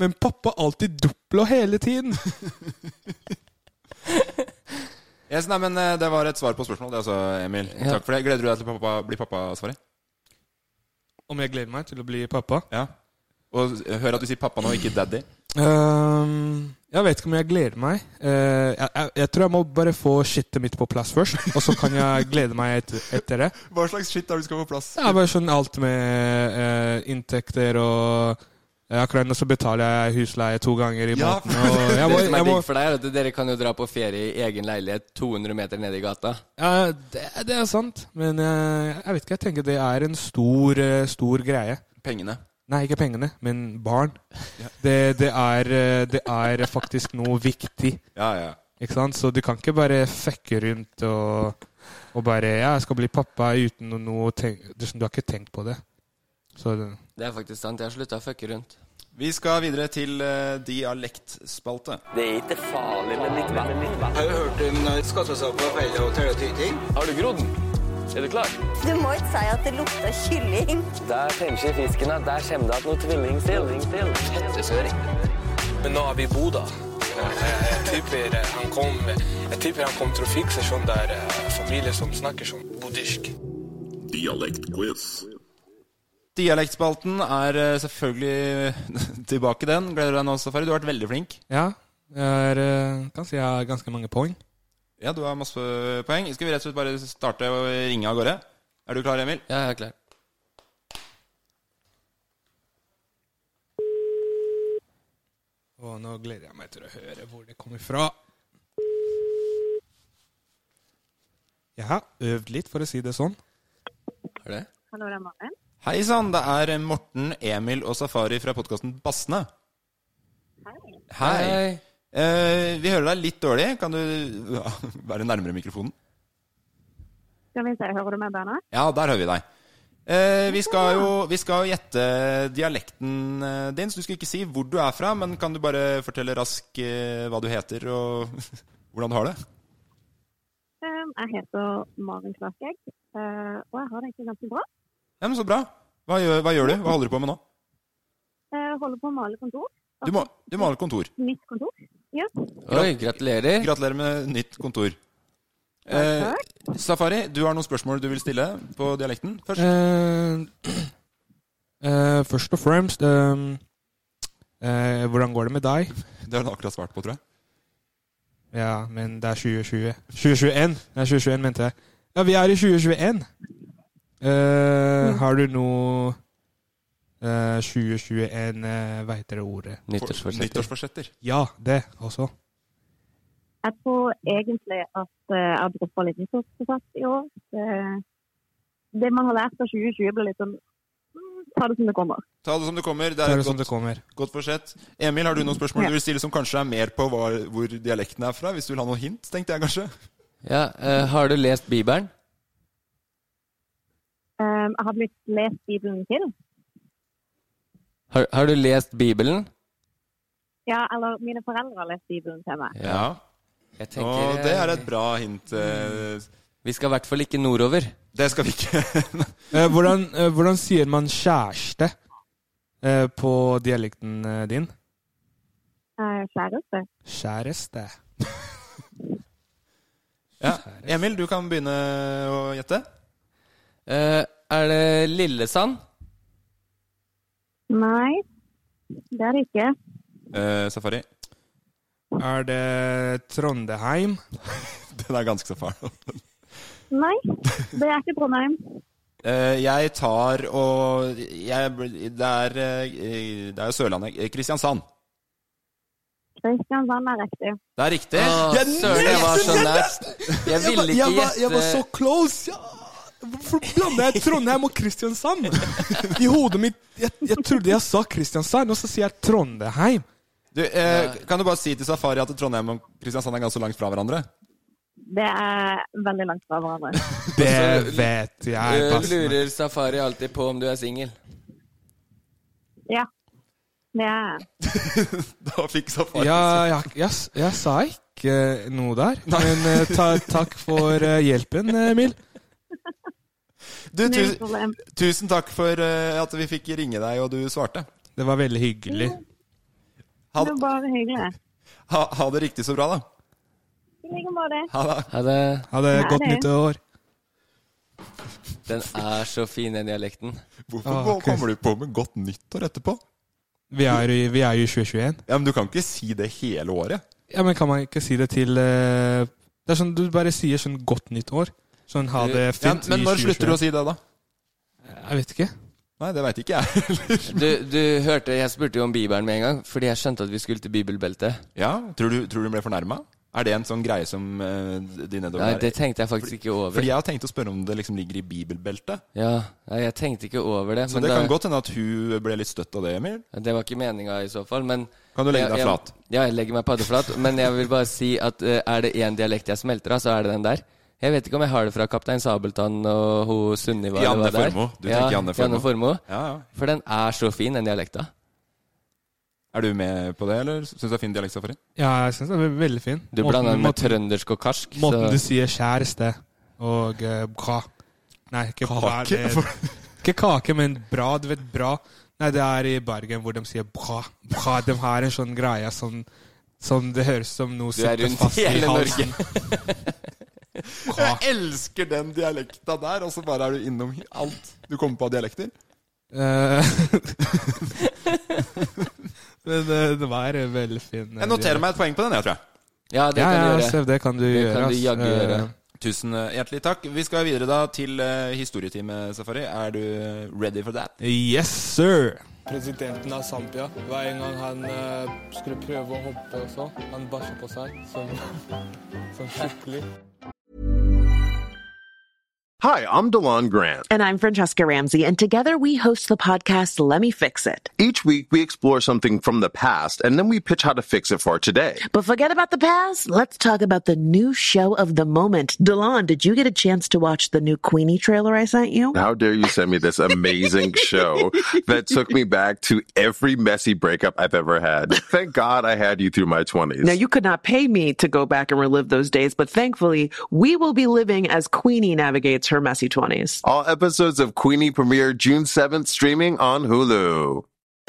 Speaker 4: Men pappa alltid Duplo hele tiden.
Speaker 1: Yes, nei, men eh, Det var et svar på spørsmålet, det altså, Emil.
Speaker 3: Ja.
Speaker 1: Takk for det. Gleder du deg til pappa blir pappa, Safari?
Speaker 4: Om jeg gleder meg til å bli pappa?
Speaker 1: Ja. Og s- hør at du sier pappa nå, ikke daddy.
Speaker 4: Ehm, jeg vet ikke om jeg gleder meg. Eh, jeg, jeg, jeg tror jeg må bare få shitet mitt på plass først, og så kan jeg glede meg etter, etter det.
Speaker 1: Hva slags shit er det du skal få plass?
Speaker 4: Det er bare sånn alt med eh, inntekter og Eh, Akkurat nå så betaler jeg husleie to ganger i
Speaker 1: Ja,
Speaker 4: måneden. Og jeg må,
Speaker 3: det som er
Speaker 4: jeg må,
Speaker 3: digg for deg, er at dere kan jo dra på ferie i egen leilighet 200 meter nede i gata.
Speaker 4: ja, det, det er sant, men eh, jeg vet ikke. Jeg tenker det er en stor, eh, stor greie.
Speaker 1: Pengene.
Speaker 4: Nei, ikke pengene, men barn. Det, det, er, eh, det er faktisk noe viktig.
Speaker 1: Ja, ja.
Speaker 4: Ikke sant? Så du kan ikke bare fekke rundt og, og bare Ja, jeg skal bli pappa uten noe, noe tenk, du, du har ikke tenkt på det. Så det-
Speaker 3: Det er faktisk sant. Jeg har slutta å fucke rundt.
Speaker 1: Vi skal videre til eh, dialektspalte.
Speaker 5: Har du hørt om skattesaka på feil og tøyting?
Speaker 6: Har du grodd? Er du klar?
Speaker 7: Du må ikke si at det lukter kylling.
Speaker 6: Der tenker fisken at der kommer det at noe tvilling til. Fettesøring.
Speaker 5: Men nå er vi i Bodø. Jeg tipper han kom Jeg tipper han kom til å fikse sånn der familie som snakker sånn bodisk.
Speaker 1: Dialektspalten er eh, selvfølgelig tilbake, den. Gleder du deg nå, Safari? Du har vært veldig flink.
Speaker 4: Ja. Jeg er, eh, kan si jeg har ganske mange poeng.
Speaker 1: Ja, du har masse poeng. Skal vi rett og slett bare starte og ringe av gårde? Er du klar, Emil?
Speaker 3: Ja, jeg er klar.
Speaker 4: Og nå gleder jeg meg til å høre hvor det kommer fra. Jeg har øvd litt, for å si det sånn.
Speaker 3: Har du det?
Speaker 1: Hei sann, det er Morten, Emil og Safari fra podkasten Bassene. Hei. Eh, vi hører deg litt dårlig. Kan du ja, være nærmere mikrofonen?
Speaker 7: Skal vi se, hører du meg bedre?
Speaker 1: Ja, der hører vi deg. Eh, vi, skal jo, vi skal jo gjette dialekten eh, din, så du skal ikke si hvor du er fra, men kan du bare fortelle raskt eh, hva du heter, og hvordan du har det?
Speaker 7: Jeg heter Maren Klarkegg, eh, og jeg har det egentlig ganske bra.
Speaker 1: Ja, men Så bra. Hva gjør, hva gjør du? Hva holder du på med nå?
Speaker 7: Jeg Eh, holder på å male kontor.
Speaker 1: Du, må, du maler kontor.
Speaker 7: Nytt kontor. Ja.
Speaker 3: Oi, gratulerer.
Speaker 1: Gratulerer med nytt kontor. Eh, Safari, du har noen spørsmål du vil stille på dialekten først?
Speaker 4: Eh, eh, først og fremst eh, eh, Hvordan går det med deg?
Speaker 1: Det har du akkurat svart på, tror jeg.
Speaker 4: Ja, men det er 2020. 2021! Nei, 2021 mente jeg. Ja, vi er i 2021!
Speaker 7: Mm.
Speaker 4: Eh, har du noe eh, 2021 uh, Hva heter det ordet?
Speaker 3: Nyttårsforsetter.
Speaker 1: Nyttårsforsetter.
Speaker 4: Ja, det også.
Speaker 7: Jeg tror egentlig at eh, jeg dropper litt nyttårsforsett i år. Eh, Det man har lært av 2020 blir litt sånn mm, Ta det som det kommer.
Speaker 1: Ta det som det kommer. Det
Speaker 4: Ta
Speaker 1: er
Speaker 4: det
Speaker 1: et
Speaker 4: som det
Speaker 1: godt,
Speaker 4: kommer.
Speaker 1: godt forsett. Emil, har du noen spørsmål
Speaker 7: Ja.
Speaker 1: du vil stille som kanskje er mer på hva, hvor dialekten er fra? Hvis du vil ha noe hint, tenkte jeg kanskje.
Speaker 3: Ja, eh, har du lest Bibelen?
Speaker 7: Eh, Jeg har blitt lest Bibelen til.
Speaker 3: Har, har du lest Bibelen?
Speaker 7: Ja, eller mine foreldre har lest Bibelen til meg.
Speaker 3: Jeg
Speaker 1: Og
Speaker 3: tenker
Speaker 1: det
Speaker 4: eh,
Speaker 1: er et bra hint. eh,
Speaker 3: Vi skal i hvert fall ikke nordover.
Speaker 1: Det skal vi ikke
Speaker 4: Eh, hvordan, eh, hvordan sier man kjæreste eh, på dialekten eh, din?
Speaker 7: Eh, Kjæreste.
Speaker 4: Kjæreste.
Speaker 1: ja. Emil, du kan begynne å gjette.
Speaker 3: Eh, er det Lillesand?
Speaker 7: Nei, det er det ikke.
Speaker 4: Eh,
Speaker 1: safari.
Speaker 4: Er det Trondheim?
Speaker 1: Den er ganske safari.
Speaker 7: Nei, det er ikke Trondheim.
Speaker 1: Eh, jeg tar og jeg, det, er, eh, det er jo Sørlandet. Eh, Kristiansand.
Speaker 7: Kristiansand er riktig.
Speaker 1: Det er riktig.
Speaker 3: Å,
Speaker 1: Jeg
Speaker 3: Søren, jeg var så
Speaker 1: nesten-
Speaker 3: nært. Jeg ville ikke
Speaker 4: jeg, var,
Speaker 3: gjette
Speaker 4: jeg var så close! Ja. Hvorfor blander jeg Trondheim og Kristiansand? I hodet mitt Jeg, jeg trodde jeg sa Kristiansand, og så sier jeg Trondheim.
Speaker 1: Du, eh, kan du bare si til Safari at Trondheim og Kristiansand er ganske langt fra hverandre?
Speaker 7: Det er veldig langt fra hverandre.
Speaker 4: Det vet jeg.
Speaker 3: Eh,
Speaker 4: Basten.
Speaker 3: lurer Safari alltid på om du er singel.
Speaker 7: Ja. Det er
Speaker 1: Da fikk Safari
Speaker 4: Ja, jeg, jeg, s- jeg sa ikke eh, noe der. Men eh, ta, takk for eh, hjelpen, Emil.
Speaker 1: Du,
Speaker 7: null
Speaker 1: tusen,
Speaker 7: problem.
Speaker 1: tusen takk for eh, at vi fikk ringe deg, og du svarte.
Speaker 4: Det var veldig hyggelig.
Speaker 1: Ha,
Speaker 7: Det er bare hyggelig.
Speaker 1: ha, ha det riktig så bra, da.
Speaker 7: I like måte.
Speaker 1: Ha det.
Speaker 3: Ja, det,
Speaker 4: Ha det
Speaker 7: Nei,
Speaker 4: godt
Speaker 7: det-
Speaker 4: nyttår.
Speaker 3: den er så fin, den dialekten.
Speaker 1: Hvorfor
Speaker 4: Ah,
Speaker 1: kom-
Speaker 4: ok.
Speaker 1: kommer du på med godt nyttår etterpå?
Speaker 4: Vi er, i- vi er jo i 2021.
Speaker 1: Ja, men Du kan ikke si det hele året.
Speaker 4: Ja, men Kan man ikke si det til eh, Det er sånn Du bare sier sånn godt nytt år. Sånn ha det
Speaker 1: Ja,
Speaker 4: fint.
Speaker 1: men
Speaker 4: i
Speaker 1: når
Speaker 4: 2021.
Speaker 1: slutter du å si det, da?
Speaker 4: Jeg vet ikke.
Speaker 1: Nei, det veit ikke jeg heller.
Speaker 3: Du, du hørte, jeg spurte jo om Bibelen med en gang, fordi jeg skjønte at vi skulle til bibelbeltet.
Speaker 1: Ja, Tror du, tror du ble fornærma? Er det en sånn greie som eh, de nedover
Speaker 3: Nei,
Speaker 1: der-
Speaker 3: det tenkte jeg faktisk ikke over.
Speaker 1: Fordi jeg har tenkt å spørre om det liksom ligger i bibelbeltet.
Speaker 3: Ja, nei, jeg tenkte ikke over det.
Speaker 1: Så
Speaker 3: men
Speaker 1: det
Speaker 3: da-
Speaker 1: kan godt hende at hun ble litt støtt av det, Emil.
Speaker 3: Det var ikke meninga i så fall, men
Speaker 1: Kan du legge deg
Speaker 3: jeg,
Speaker 1: flat?
Speaker 3: Jeg, ja, jeg legger meg paddeflat. Men jeg vil bare si at eh, er det én dialekt jeg smelter av, så er det den der. Jeg vet ikke om jeg har det fra Kaptein Sabeltann og ho Sunniva eller
Speaker 1: Janne
Speaker 3: hva det er.
Speaker 1: Formoe. Du
Speaker 3: ja,
Speaker 1: tenker Janne Formoe.
Speaker 3: Formoe.
Speaker 1: Ja, ja.
Speaker 3: For den er så fin, den dialekta.
Speaker 1: Er du med på det, eller syns du det er fin dialekt, Safari?
Speaker 4: Ja, jeg syns den er veldig fin.
Speaker 3: Du
Speaker 4: Måten-
Speaker 3: blander den med
Speaker 4: måten-
Speaker 3: trøndersk og karsk.
Speaker 4: Måten du
Speaker 3: Så
Speaker 4: sier kjæreste og eh, bra Nei, ikke bra.
Speaker 1: Kake?
Speaker 4: Det, ikke kake, men bra. Du vet, bra. Nei, det er i Bergen hvor de sier bra. bra. De har en sånn greie som, som det høres som noe
Speaker 3: du er
Speaker 4: sitter
Speaker 3: rundt
Speaker 4: fast i
Speaker 3: hele Norge.
Speaker 4: halsen. Bra.
Speaker 1: elsker den dialekta der, og så bare er du innom alt du kommer på av dialekter.
Speaker 4: Eh, Men eh, det var en veldig fin eh,
Speaker 1: Jeg noterer meg et poeng på den, jeg, tror jeg.
Speaker 3: Ja, det
Speaker 4: Ja,
Speaker 3: kan
Speaker 4: ja,
Speaker 3: du gjøre.
Speaker 4: Sev, det kan du
Speaker 3: Det
Speaker 4: gjøre.
Speaker 3: kan du
Speaker 4: ass.
Speaker 3: jaggu gjøre.
Speaker 4: Eh,
Speaker 1: Tusen eh, hjertelig takk. Vi skal videre da til eh, historietime, Safari. Er du eh, ready for that?
Speaker 4: Yes, sir!
Speaker 5: Presidenten av Zambia, hver gang han eh, skulle prøve å hoppe og så, han bæsja på seg som, som skikkelig.
Speaker 8: Hi, I'm DeLon Grant.
Speaker 9: And I'm Francesca Ramsey, and together we host the podcast Let Me Fix It.
Speaker 8: Each week, we explore something from the past and then we pitch how to fix it for today.
Speaker 9: But forget about the past. Let's talk about the new show of the moment. DeLon, did you get a chance to watch the new Queenie trailer I sent you?
Speaker 8: How dare you send me this amazing show that took me back to every messy breakup I've ever had? Thank God I had you through my 20s.
Speaker 9: Now, you could not pay me to go back and relive those days, but thankfully, we will be living as Queenie navigates her messy 20s.
Speaker 8: All episodes of Queenie premiere June 7th, streaming on Hulu.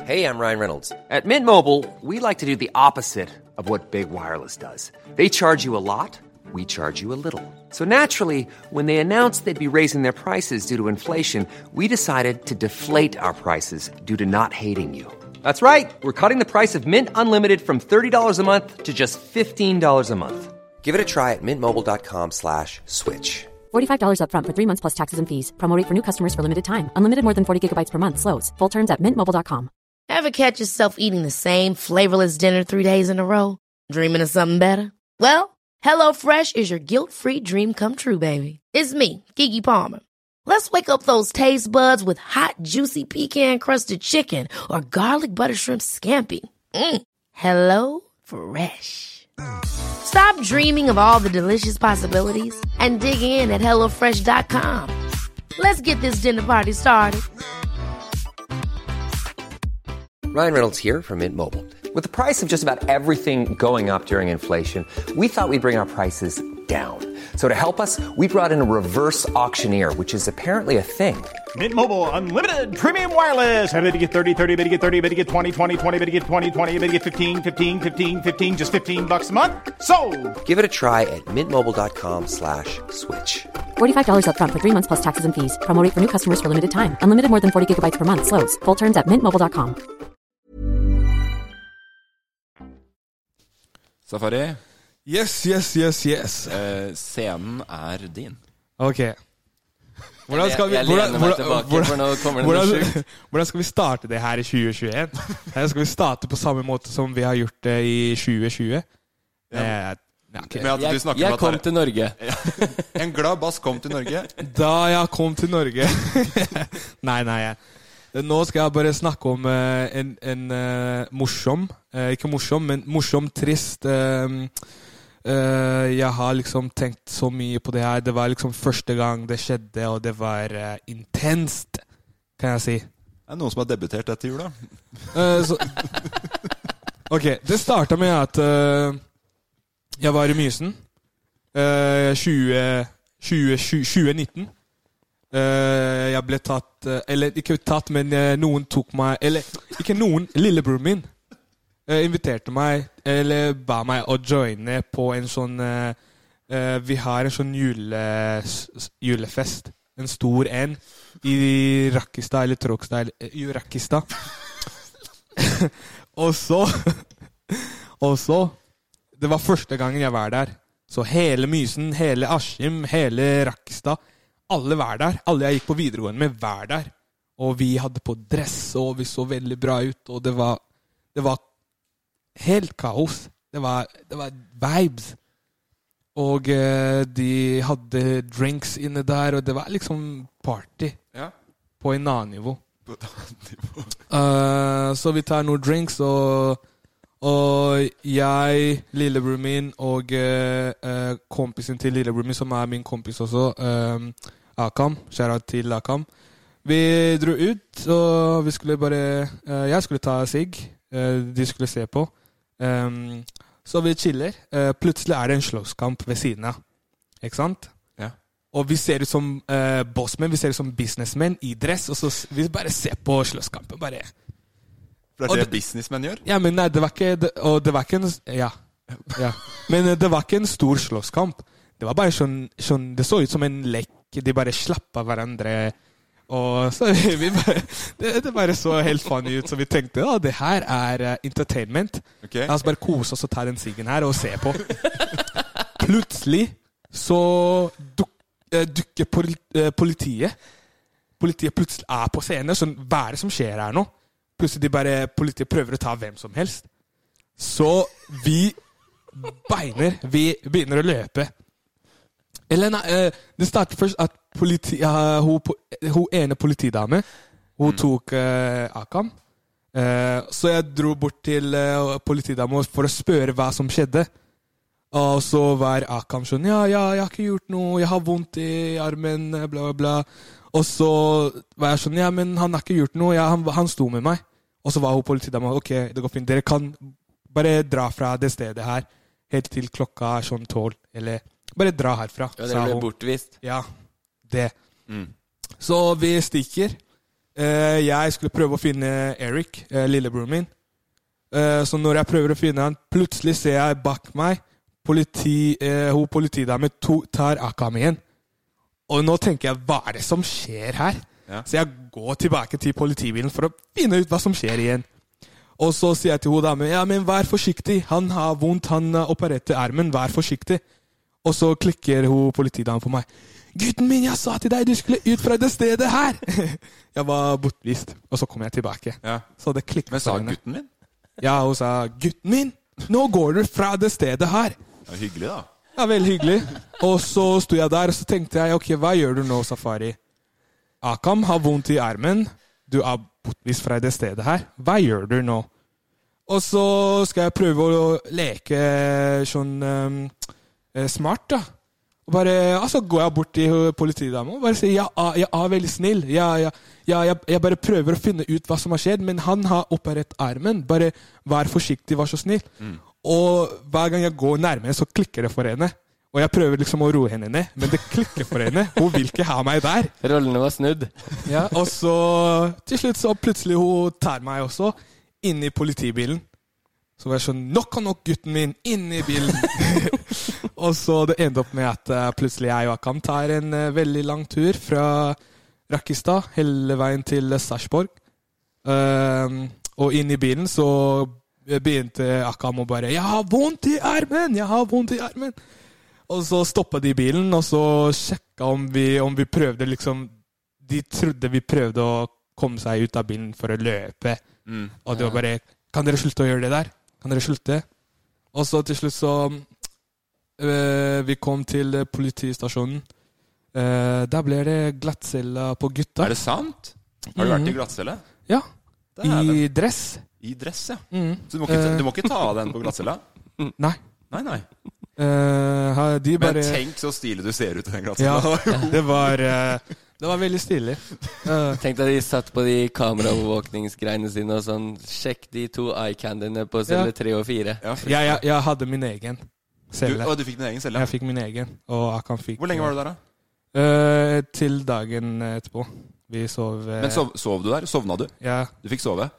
Speaker 10: Hey, I'm Ryan Reynolds. At Mint Mobile, we like to do the opposite of what Big Wireless does. They charge you a lot, we charge you a little. So naturally, when they announced they'd be raising their prices due to inflation, we decided to deflate our prices due to not hating you. That's right. We're cutting the price of Mint Unlimited from $30 a month to just $15 a month. Give it a try at mintmobile.com slash switch.
Speaker 11: $45 upfront for three months plus taxes and fees. Promo rate for new customers for limited time. Unlimited more than 40 gigabytes per month. Slows. Full terms at mintmobile.com.
Speaker 12: Ever catch yourself eating the same flavorless dinner three days in a row? Dreaming of something better? Well, HelloFresh is your guilt free dream come true, baby. It's me, Gigi Palmer. Let's wake up those taste buds with hot, juicy pecan crusted chicken or garlic butter shrimp scampi. Mm. Hello Fresh. Stop dreaming of all the delicious possibilities and dig in at HelloFresh.com. Let's get this dinner party started.
Speaker 10: Ryan Reynolds here from Mint Mobile. With the price of just about everything going up during inflation, we thought we'd bring our prices down. So to help us, we brought in a reverse auctioneer, which is apparently a thing.
Speaker 13: Mint Mobile unlimited premium wireless. Ready to get 30, 30, bit to get 30, bit to get 20, 20, 20, bit to get 20, 20, bit to get 15, 15, 15, 15 just 15 bucks a month. So,
Speaker 10: Give it a try at mintmobile.com slash switch.
Speaker 11: $45 upfront for three months plus taxes and fees. Promo rate for new customers for limited time. Unlimited more than 40 gigabytes per month. Slows. Full terms at mintmobile.com.
Speaker 1: Safari,
Speaker 4: Yes, yes, yes, yes.
Speaker 1: eh, scenen er din.
Speaker 4: Ok. Hvordan skal vi,
Speaker 3: Jeg- jeg
Speaker 4: hvordan,
Speaker 3: lener meg
Speaker 4: hvordan,
Speaker 3: tilbake, for nå kommer det noe
Speaker 4: hvordan,
Speaker 3: sjukt.
Speaker 4: hvordan skal vi starte det her i 2021? Her skal vi starte på samme måte som vi har gjort det i 2020? Eh, ja, ok.
Speaker 1: Med at du
Speaker 3: Jeg-
Speaker 1: snakker
Speaker 3: jeg
Speaker 1: om at
Speaker 3: kom
Speaker 1: det er-
Speaker 3: til Norge.
Speaker 1: En glad bass kom til Norge.
Speaker 4: Da jeg kom til Norge Nei, nei. Jeg. Nå skal jeg bare snakke om eh, en, en eh, morsom eh, Ikke morsom, men morsom, trist eh, eh, Jeg har liksom tenkt så mye på det her. Det var liksom første gang det skjedde, og det var eh, intenst, kan jeg si.
Speaker 1: Det er noen som har debutert etter jula.
Speaker 4: Eh, så, ok, det starta med at eh, jeg var i Mysen eh, 20, 20, 2019. Eh, jeg ble tatt eh, Eller ikke tatt, men eh, noen tok meg Eller ikke noen. Lillebroren min eh, inviterte meg, eller ba meg å joine på en sånn eh, eh, Vi har en sånn jule, s- s- julefest. En stor en i Rakkestad eller Tråkstad eller eh, I Rakkestad. og så Og så Det var første gangen jeg var der. Så hele Mysen, hele Askim, hele Rakkestad Alle var der. Alle jeg gikk på videregående med, var der. Og vi hadde på dress, og vi så veldig bra ut, og det var, det var helt kaos. Det var, det var vibes. Og eh, de hadde drinks inne der, og det var liksom party.
Speaker 1: Ja.
Speaker 4: På en annen nivå.
Speaker 1: På et annet nivå.
Speaker 4: Eh, så vi tar noen drinks, og, og jeg, lillebroren min og eh, eh, kompisen til lillebroren min, som er min kompis også, eh, Akam, skjæra til Akam, vi dro ut, og vi skulle bare eh, Jeg skulle ta sigg, eh, de skulle se på. Ehm, så vi chiller. Eh, plutselig er det en slåsskamp ved siden av. Ikke sant?
Speaker 1: Ja.
Speaker 4: Og vi ser ut som eh, bossmenn, vi ser ut som businessmenn i dress, og så s- vi bare ser på slåsskampen. Bare.
Speaker 1: For det
Speaker 4: Og
Speaker 1: er
Speaker 4: det-
Speaker 1: det businessmenn gjør?
Speaker 4: Ja, men nei, det var ikke det, Og det var ikke en Ja. ja. Men eh, det var ikke en stor slåsskamp. Det var bare sånn, sånn Det så ut som en lek. De bare slapp av hverandre. Og så vi bare, det, det bare så helt funny ut, så vi tenkte ja, det her er eh, entertainment.
Speaker 1: Ok.
Speaker 4: La oss bare kose oss og ta den siggen her og se på. Plutselig så duk, eh, dukker poli, eh, politiet Politiet plutselig er på scenen. Sånn, hva er det som skjer her nå? Plutselig de bare, politiet prøver å ta hvem som helst. Så vi beiner. Vi begynner å løpe. Eller nei, eh, det startet først at politi, eh, hun, po- eh, hun ene politidame Hun
Speaker 3: Mm.
Speaker 4: tok eh, Akam. Eh, så jeg dro bort til eh, politidama for å spørre hva som skjedde. Og så var Akam sånn Ja, ja, jeg har ikke gjort noe. Jeg har vondt i armen. eh, Bla, bla, bla. Og så var jeg sånn Ja, men han har ikke gjort noe. Ja, han, han sto med meg. Og så var hun politidama. Ok, det går fint. Dere kan bare dra fra det stedet her helt til klokka er sånn tolv. Eller bare dra herfra.
Speaker 3: Ja,
Speaker 4: sa
Speaker 3: dere ble
Speaker 4: hun.
Speaker 3: bortvist.
Speaker 4: Ja, det. Så vi stikker. Eh, jeg skulle prøve å finne Eric, eh, lillebroren min. Eh, så når jeg prøver å finne han, plutselig ser jeg bak meg politi, eh, hun politidame to- tar Akam igjen. Og nå tenker jeg, hva er det som skjer her? Så jeg går tilbake til politibilen for å finne ut hva som skjer igjen. Og så sier jeg til hun damen, ja, men vær forsiktig. Han har vondt, han eh, opererte armen, vær forsiktig. Og så klikker hun politidamen på meg. Gutten min, jeg sa til deg du skulle ut fra det stedet her! jeg var bortvist, og så kom jeg tilbake. Så det klikket.
Speaker 1: Men sa
Speaker 4: for henne.
Speaker 1: gutten min?
Speaker 4: Ja, hun sa 'gutten min, nå går du fra det stedet her'.
Speaker 1: Ja, hyggelig, da.
Speaker 4: Ja, Veldig hyggelig. Og så sto jeg der og så tenkte jeg, ok, hva gjør du nå, Safari? Akam har vondt i armen. Du er bortvist fra det stedet her. Hva gjør du nå? Og så skal jeg prøve å leke sånn ehm, eh, smart, da. Og bare, ja, så går jeg bort til politidama og bare sier ja, ja, jeg er veldig snill. Ja, ja, ja, jeg, jeg bare prøver å finne ut hva som har skjedd, men han har operert armen. Bare vær forsiktig, vær så snill. Og hver gang jeg går nærmere, så klikker det for henne. Og jeg prøver liksom å roe henne ned, men det klikker for henne. Hun vil ikke ha meg der.
Speaker 3: Rollene var snudd.
Speaker 4: Ja, og så til slutt så plutselig hun tar meg også inn i politibilen. Så var jeg sånn Nok og nok, gutten min! Inn i bilen! og så det endte opp med at eh, plutselig jeg og Akam tar en eh, veldig lang tur fra Rakkestad hele veien til eh, Sarpsborg. Ehm, og inn i bilen så begynte Akam å bare 'Jeg har vondt i armen! Jeg har vondt i armen!' Og så stoppa de bilen, og så sjekka om vi, om vi prøvde liksom De trodde vi prøvde å komme seg ut av bilen for å løpe.
Speaker 1: Mm.
Speaker 4: Og det var bare 'Kan dere slutte å gjøre det der? Kan dere slutte?' Og så til slutt så øh, Vi kom til eh, politistasjonen. Eh, der ble det glattcella på gutta.
Speaker 1: Er det sant? Har du vært i
Speaker 4: Mhm.
Speaker 1: glattcelle?
Speaker 4: Ja. I
Speaker 1: Dæven.
Speaker 4: dress.
Speaker 1: I dress, ja.
Speaker 4: Mhm.
Speaker 1: Så du må, ikke,
Speaker 4: Eh.
Speaker 1: du må ikke ta av den på glattcella?
Speaker 4: Nei.
Speaker 1: Nei, nei.
Speaker 4: Eh, ha- de
Speaker 1: Men
Speaker 4: bare
Speaker 1: tenk så stilig du ser ut i den
Speaker 4: Ja,
Speaker 1: glattcella.
Speaker 4: det var eh, Det var veldig stilig. Eh,
Speaker 3: Tenk deg de satt på de kameraovervåkningsgreiene sine og sånn Sjekk de to eye-candyene på
Speaker 4: Ja.
Speaker 3: celle tre og fire.
Speaker 4: jeg, jeg, jeg hadde min egen celle.
Speaker 3: Du- å, du fikk din egen celle, ja.
Speaker 4: Jeg fikk min egen, og Akan fikk
Speaker 1: Hvor lenge var du der, da?
Speaker 4: Eh, til dagen etterpå. Vi sov eh,
Speaker 1: Men sov, sov du der? Sovna du?
Speaker 4: Ja.
Speaker 1: Du fikk sove?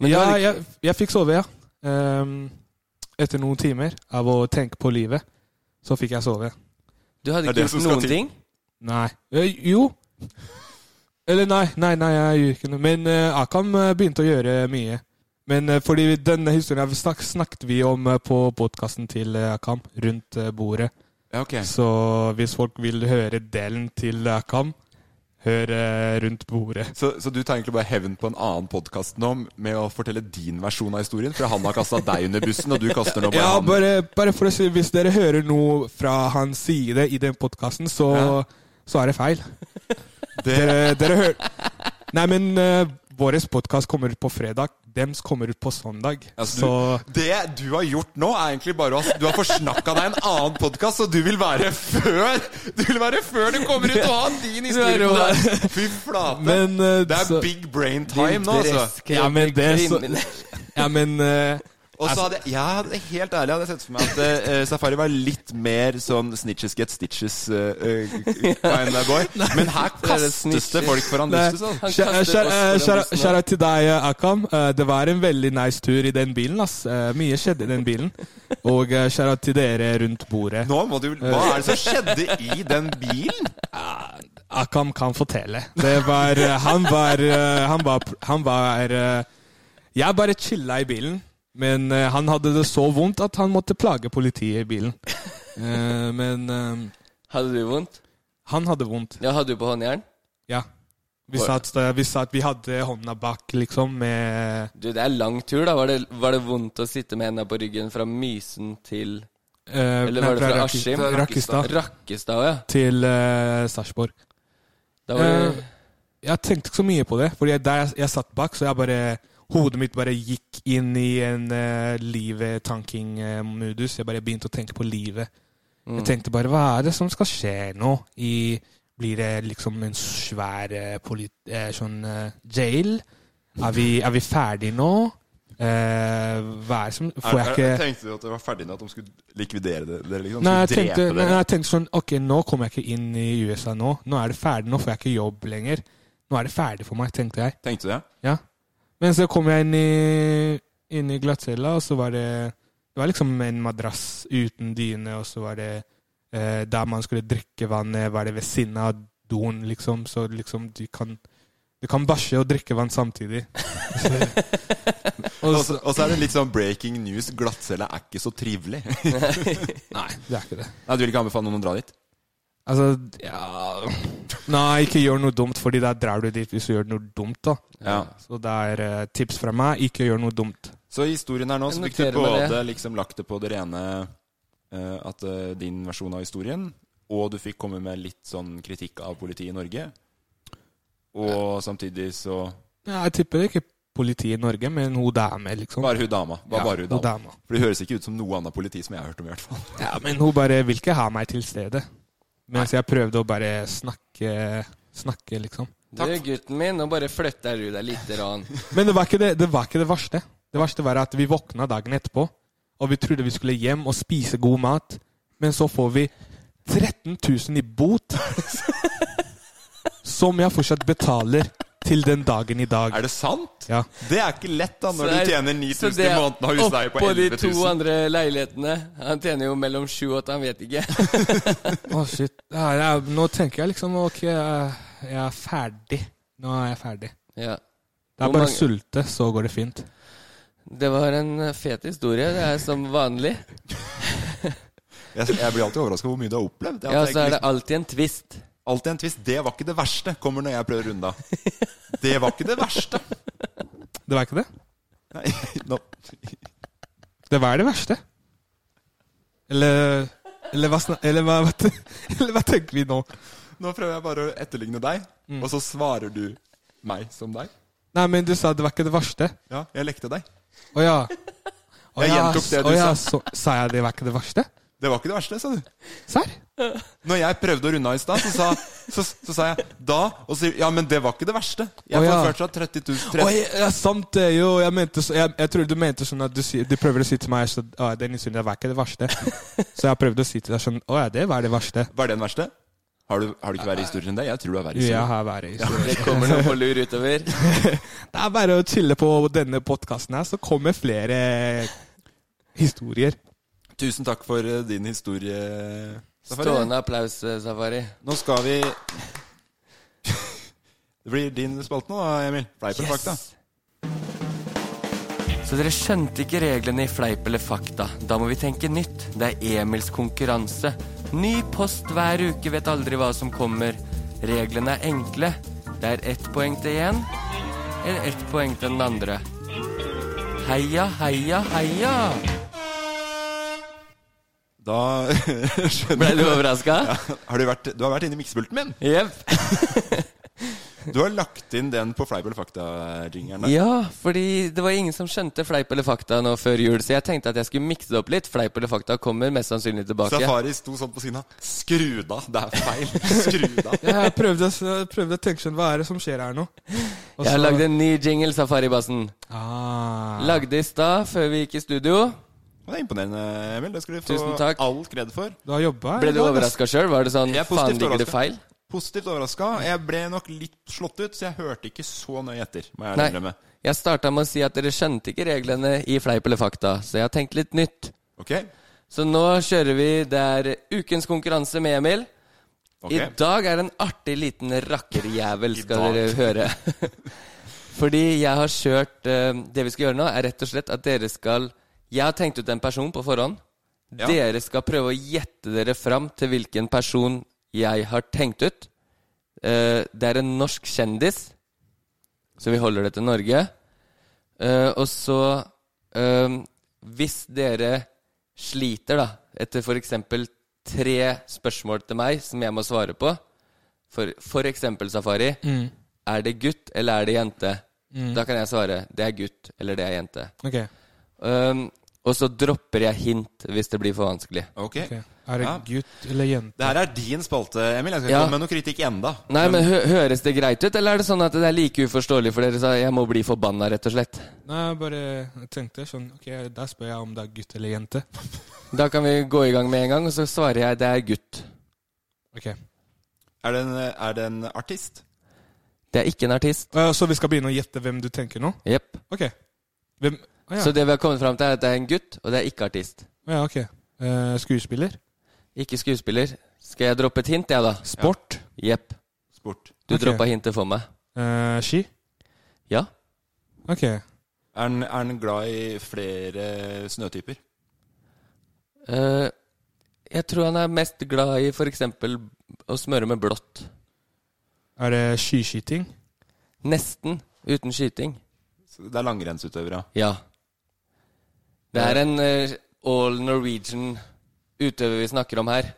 Speaker 4: ja, jeg, jeg fikk sove, ja. Ehm, etter noen timer av å tenke på livet, så fikk jeg sove.
Speaker 3: Du hadde ikke gjort noen ting?
Speaker 4: Nei. Eh, jo. Eller nei, nei, nei, jeg gjorde ikke noe. Men eh, Akam eh, begynte å gjøre mye. Men eh, fordi denne historien vi snak, snakket vi om eh, på podkasten til eh, Akam, rundt eh, bordet.
Speaker 1: Ja, ok.
Speaker 4: Så hvis folk vil høre delen til Akam, Hør eh, rundt bordet.
Speaker 3: Så, så du tar egentlig bare hevn på en annen podkast nå med å fortelle din versjon av historien? For han har kasta deg under bussen, og du kaster nå bare
Speaker 4: Ja,
Speaker 3: han.
Speaker 4: bare, bare for å si Hvis dere hører noe fra hans side i den podkasten, så, så er det feil. Dere, dere hører Nei, men uh, vår podkast kommer ut på fredag. Dems kommer ut på søndag.
Speaker 3: Altså,
Speaker 4: så
Speaker 3: du, det du har gjort nå, er egentlig bare å ha- Du har forsnakka deg en annen podkast, og du vil være før Du vil være før det kommer ut og ha din historie på deg! Fy flate!
Speaker 4: Men, eh,
Speaker 3: det er
Speaker 4: så-
Speaker 3: big brain time nå, altså.
Speaker 4: Ja, men det er så Ja, men eh,
Speaker 3: Og
Speaker 10: Altså-
Speaker 3: så hadde jeg, jeg hadde- Helt ærlig hadde jeg sett for meg at eh, Safari var litt mer sånn snitches get stitches eh, eh, kind of boy. Men her kastes det folk foran
Speaker 4: Nei,
Speaker 3: bussen. sånn.
Speaker 4: kjære- eh, kjære- kjære- Kjære til deg, eh, Akam. Eh, Det var en veldig nice tur i den bilen. ass. Eh, Mye skjedde i den bilen. Og eh, kjære til dere rundt bordet.
Speaker 3: Nå må du Hva er det som skjedde i den bilen?
Speaker 4: Akam kan fortelle. Det var eh, Han var eh, Han var, han var eh, Jeg bare chilla i bilen, men eh, han hadde det så vondt at han måtte plage politiet i bilen. Eh, Men
Speaker 10: Hadde du vondt?
Speaker 4: Han hadde vondt.
Speaker 10: Ja, hadde du på håndjern?
Speaker 4: Ja. Vi sa at, vi, sa at vi hadde hånda bak, liksom, med
Speaker 10: Du, det er lang tur, da. Var det, var det vondt å sitte med henda på ryggen fra Mysen til
Speaker 4: Eh,
Speaker 10: Eller
Speaker 4: nei,
Speaker 10: var det fra
Speaker 4: fra Rakki-
Speaker 10: Askim?
Speaker 4: fra Rakkestad.
Speaker 10: Rakkestad, ja.
Speaker 4: til uh, Sarpsborg.
Speaker 10: Da var det-
Speaker 4: Eh, jeg tenkte ikke så mye på det, for der jeg, jeg satt bak, så jeg bare Hodet mitt bare gikk inn i en uh, livet-tanking-modus. Jeg bare begynte å tenke på livet.
Speaker 10: Mm.
Speaker 4: Jeg tenkte bare hva er det som skal skje nå? I, blir det liksom en svær eh, polit, eh, sånn eh, jail? Er vi, er vi ferdige nå? Eh, hva er det som Får jeg ikke
Speaker 3: Tenkte du at det var ferdig nå, at de skulle likvidere det- dere? Liksom?
Speaker 4: Nei, jeg
Speaker 3: Skulle
Speaker 4: tenkte,
Speaker 3: drepe
Speaker 4: nei,
Speaker 3: dere?
Speaker 4: jeg tenkte sånn Ok, nå kommer jeg ikke inn i USA nå. Nå er det ferdig. Nå får jeg ikke jobb lenger. Nå er det ferdig for meg, tenkte jeg.
Speaker 3: Tenkte du det?
Speaker 4: Ja. Men så kom jeg inn i, inn i glattcella, og så var det Det var liksom en madrass uten dyne, og så var det eh, der man skulle drikke vannet, var det ved siden av doen, liksom. Så liksom du kan du kan bæsje og drikke vann samtidig.
Speaker 3: Og
Speaker 4: Altså,
Speaker 3: så og så er det litt sånn breaking news. Glattcelle er ikke så trivelig.
Speaker 4: Nei, det er ikke det.
Speaker 3: Nei, Du vil ikke anbefale noen å dra dit?
Speaker 4: Altså, ja Nei, ikke gjør noe dumt, Fordi da drar du dit hvis du gjør noe dumt. da
Speaker 3: Ja.
Speaker 4: Så det er eh, tips fra meg. Ikke gjør noe dumt.
Speaker 3: Så i historien her nå så
Speaker 10: Jeg
Speaker 3: fikk du
Speaker 10: noterer meg
Speaker 3: både liksom lagt det på det rene eh, at eh, din versjon av historien, og du fikk komme med litt sånn kritikk av politiet i Norge. Og samtidig så
Speaker 4: Ja, jeg tipper det ikke politiet i Norge, men hun dame, liksom.
Speaker 3: Bare hun dama. Bare,
Speaker 4: Ja,
Speaker 3: bare hun
Speaker 4: hun
Speaker 3: dama.
Speaker 4: dama.
Speaker 3: For det høres ikke ut som noe annet politi som jeg har hørt om, i hvert fall.
Speaker 4: Ja, men hun bare vil ikke ha meg til stedet. Mens jeg prøvde å bare snakke, snakke, liksom.
Speaker 10: Du, gutten min, nå bare flytter du deg lite grann.
Speaker 4: Men det var, ikke det, det var ikke det verste. Det verste var at vi våkna dagen etterpå, og vi trodde vi skulle hjem og spise god mat, men så får vi 13 000 i bot, som jeg fortsatt betaler til den dagen i dag.
Speaker 3: Er det sant?
Speaker 4: Ja.
Speaker 3: Det er ikke lett da
Speaker 10: Så
Speaker 3: når du
Speaker 10: det er-
Speaker 3: tjener 9000
Speaker 10: så det
Speaker 3: i
Speaker 10: er
Speaker 3: måneden og har husleie på
Speaker 10: Oppå de
Speaker 3: 11
Speaker 10: to
Speaker 3: 000.
Speaker 10: andre leilighetene. Han tjener jo mellom sju og åtte, han vet ikke.
Speaker 4: Å, shit. Ja, ja, nå tenker jeg liksom OK, jeg jeg er ferdig. Nå er jeg ferdig.
Speaker 10: Ja.
Speaker 4: Det
Speaker 10: Hvor
Speaker 4: er bare å
Speaker 10: mange-
Speaker 4: sulte, så går det fint.
Speaker 10: Det var en eh, fet historie. Det er som vanlig.
Speaker 3: Jeg, jeg blir alltid overraska hvor mye du har opplevd. Altså,
Speaker 10: Ja, så er det alltid en twist.
Speaker 3: Alltid en tvist. Det var ikke det verste, kommer når jeg prøver runda. Det var ikke det verste.
Speaker 4: Det var ikke det?
Speaker 3: Nei, nå
Speaker 4: Det var det verste. Eller Eller hva, snak, eller hva, hva, te- eller hva tenker vi nå?
Speaker 3: Nå prøver jeg bare å etterligne deg,
Speaker 10: Mm.
Speaker 3: og så svarer du meg som deg.
Speaker 4: Nei, men du sa det var ikke det verste.
Speaker 3: Ja, jeg lekte deg.
Speaker 4: Å ja. Å
Speaker 3: Jeg
Speaker 4: ja,
Speaker 3: gjentok det du
Speaker 4: å ja,
Speaker 3: sa.
Speaker 4: Så, sa jeg det var ikke det verste?
Speaker 3: Det var ikke det verste, sa du.
Speaker 4: Serr?
Speaker 3: Når jeg prøvde å runde av i stad, så, sa- så, så sa jeg da, og så ja, men det var ikke det verste. Jeg
Speaker 4: Å,
Speaker 3: får
Speaker 4: ja.
Speaker 3: fortsatt 30 000
Speaker 4: Oi, ja, sant det, jo. Jeg, mente, så- jeg, jeg tror du mente sånn at du, sier- du prøver å si til meg så, Å, ja, den historien der var ikke det verste. så jeg prøvde å si til deg sånn Å ja, det var det verste.
Speaker 3: Var det den verste? Har du, har du ikke verre historier enn det? Jeg tror du har verre
Speaker 4: Jo,
Speaker 3: historier.
Speaker 4: jeg har verre historier.
Speaker 10: Det kommer noe på lur utover.
Speaker 4: Det er bare å chille på denne podkasten her, så kommer flere historier.
Speaker 3: Tusen takk for eh, din historie. Safari.
Speaker 10: Stående applaus, eh, Safari.
Speaker 3: Nå skal vi Det blir din spalte nå, da, Emil. Fleip eller fakta?
Speaker 10: Så dere skjønte ikke reglene i Fleip eller fakta. Da må vi tenke nytt. Det er Emils konkurranse. Ny post hver uke, vet aldri hva som kommer.
Speaker 14: Reglene er enkle. Det er ett poeng til én, eller ett poeng til den andre. Heia, heia, heia!
Speaker 3: Da skjønner
Speaker 14: Ble du overraska?
Speaker 3: Ja. Har du, vært, du har vært inne i miksepulten min. du har lagt inn den på Fleip eller fakta-jingeren. der.
Speaker 14: Ja, fordi det var ingen som skjønte fleip eller fakta nå før jul, så jeg tenkte at jeg skulle mikse det opp litt. Fleip eller fakta kommer mest sannsynlig tilbake.
Speaker 3: Safari sto sånn på siden av. Skru det av! Det er feil! Skru det av!
Speaker 4: Jeg prøvde, å- jeg prøvde å tenke sånn, hva er det som skjer her nå? Og
Speaker 14: Jeg har
Speaker 4: så-
Speaker 14: lagd en ny jingle, Safaribassen.
Speaker 4: Ah.
Speaker 14: Lagde i stad, før vi gikk i studio.
Speaker 3: Det er imponerende, Emil. Det skal du få
Speaker 14: Tusen takk.
Speaker 3: all kred for.
Speaker 4: Du har jobba?
Speaker 14: Ble du overraska sjøl? Var det sånn
Speaker 3: Jeg er
Speaker 14: Faen,
Speaker 3: positivt
Speaker 14: ligger det
Speaker 3: overrasket.
Speaker 14: feil?
Speaker 3: Positivt overraska. Jeg ble nok litt slått ut, så jeg hørte ikke så nøye etter. Må jeg ærlig
Speaker 14: Nei.
Speaker 3: innrømme.
Speaker 14: Jeg starta med å si at dere skjønte ikke reglene i Fleip eller fakta, så jeg har tenkt litt nytt.
Speaker 3: Ok.
Speaker 14: Så nå kjører vi. Det er ukens konkurranse med Emil.
Speaker 3: Ok.
Speaker 14: I dag er det en artig liten rakkerjævel, skal
Speaker 3: dag.
Speaker 14: dere høre. Fordi jeg har kjørt eh, Det vi skal gjøre nå, er rett og slett at dere skal Jeg har tenkt ut en person på forhånd.
Speaker 3: Ja.
Speaker 14: Dere skal prøve å gjette dere fram til hvilken person jeg har tenkt ut. Eh, det er en norsk kjendis, så vi holder det til Norge. Eh, og så eh, Hvis dere sliter, da, etter f.eks. tre spørsmål til meg som jeg må svare på, for, for eksempel Safari
Speaker 4: Mm.
Speaker 14: Er det gutt eller er det jente?
Speaker 4: Mm.
Speaker 14: Da kan jeg svare det er gutt eller det er jente.
Speaker 4: Ok.
Speaker 1: Ehm,
Speaker 14: Um, og så dropper jeg hint hvis det blir for vanskelig.
Speaker 3: Ok.
Speaker 4: Er det
Speaker 3: Ja.
Speaker 4: gutt eller jente?
Speaker 3: Det her er din spalte, Emil. Jeg skal ikke
Speaker 14: Ja.
Speaker 3: komme med noe kritikk enda
Speaker 14: Nei, men hø Høres det greit ut, eller er det sånn at det er like uforståelig for dere? Så jeg må bli forbanna, rett og slett.
Speaker 4: Nei, jeg bare tenkte sånn Ok, der spør jeg om det er gutt eller jente.
Speaker 14: Da kan vi gå i gang med en gang, og så svarer jeg det er gutt.
Speaker 4: Ok.
Speaker 3: Er det en, er det en artist?
Speaker 14: Det er ikke en artist.
Speaker 4: Eh, Så vi skal begynne å gjette hvem du tenker nå?
Speaker 14: Jepp.
Speaker 4: Ok. Hvem Å ja.
Speaker 14: Så det vi har kommet fram til, er at det er en gutt, og det er ikke artist.
Speaker 4: Å ja, ok. Eh, skuespiller?
Speaker 14: Ikke skuespiller. Skal jeg droppe et hint, jeg, da?
Speaker 4: Sport?
Speaker 14: Jepp.
Speaker 3: Sport.
Speaker 14: Du
Speaker 4: Ok.
Speaker 14: droppa hintet for meg.
Speaker 4: Eh, ski?
Speaker 14: Ja.
Speaker 4: Ok.
Speaker 3: Er den, er den glad i flere snøtyper?
Speaker 14: Eh, jeg tror han er mest glad i f.eks. å smøre med blått.
Speaker 4: Er det skiskyting?
Speaker 14: Nesten uten skyting.
Speaker 3: Så Det er langrennsutøvere.
Speaker 14: Ja. Det er en eh, all Norwegian-utøver vi snakker om her.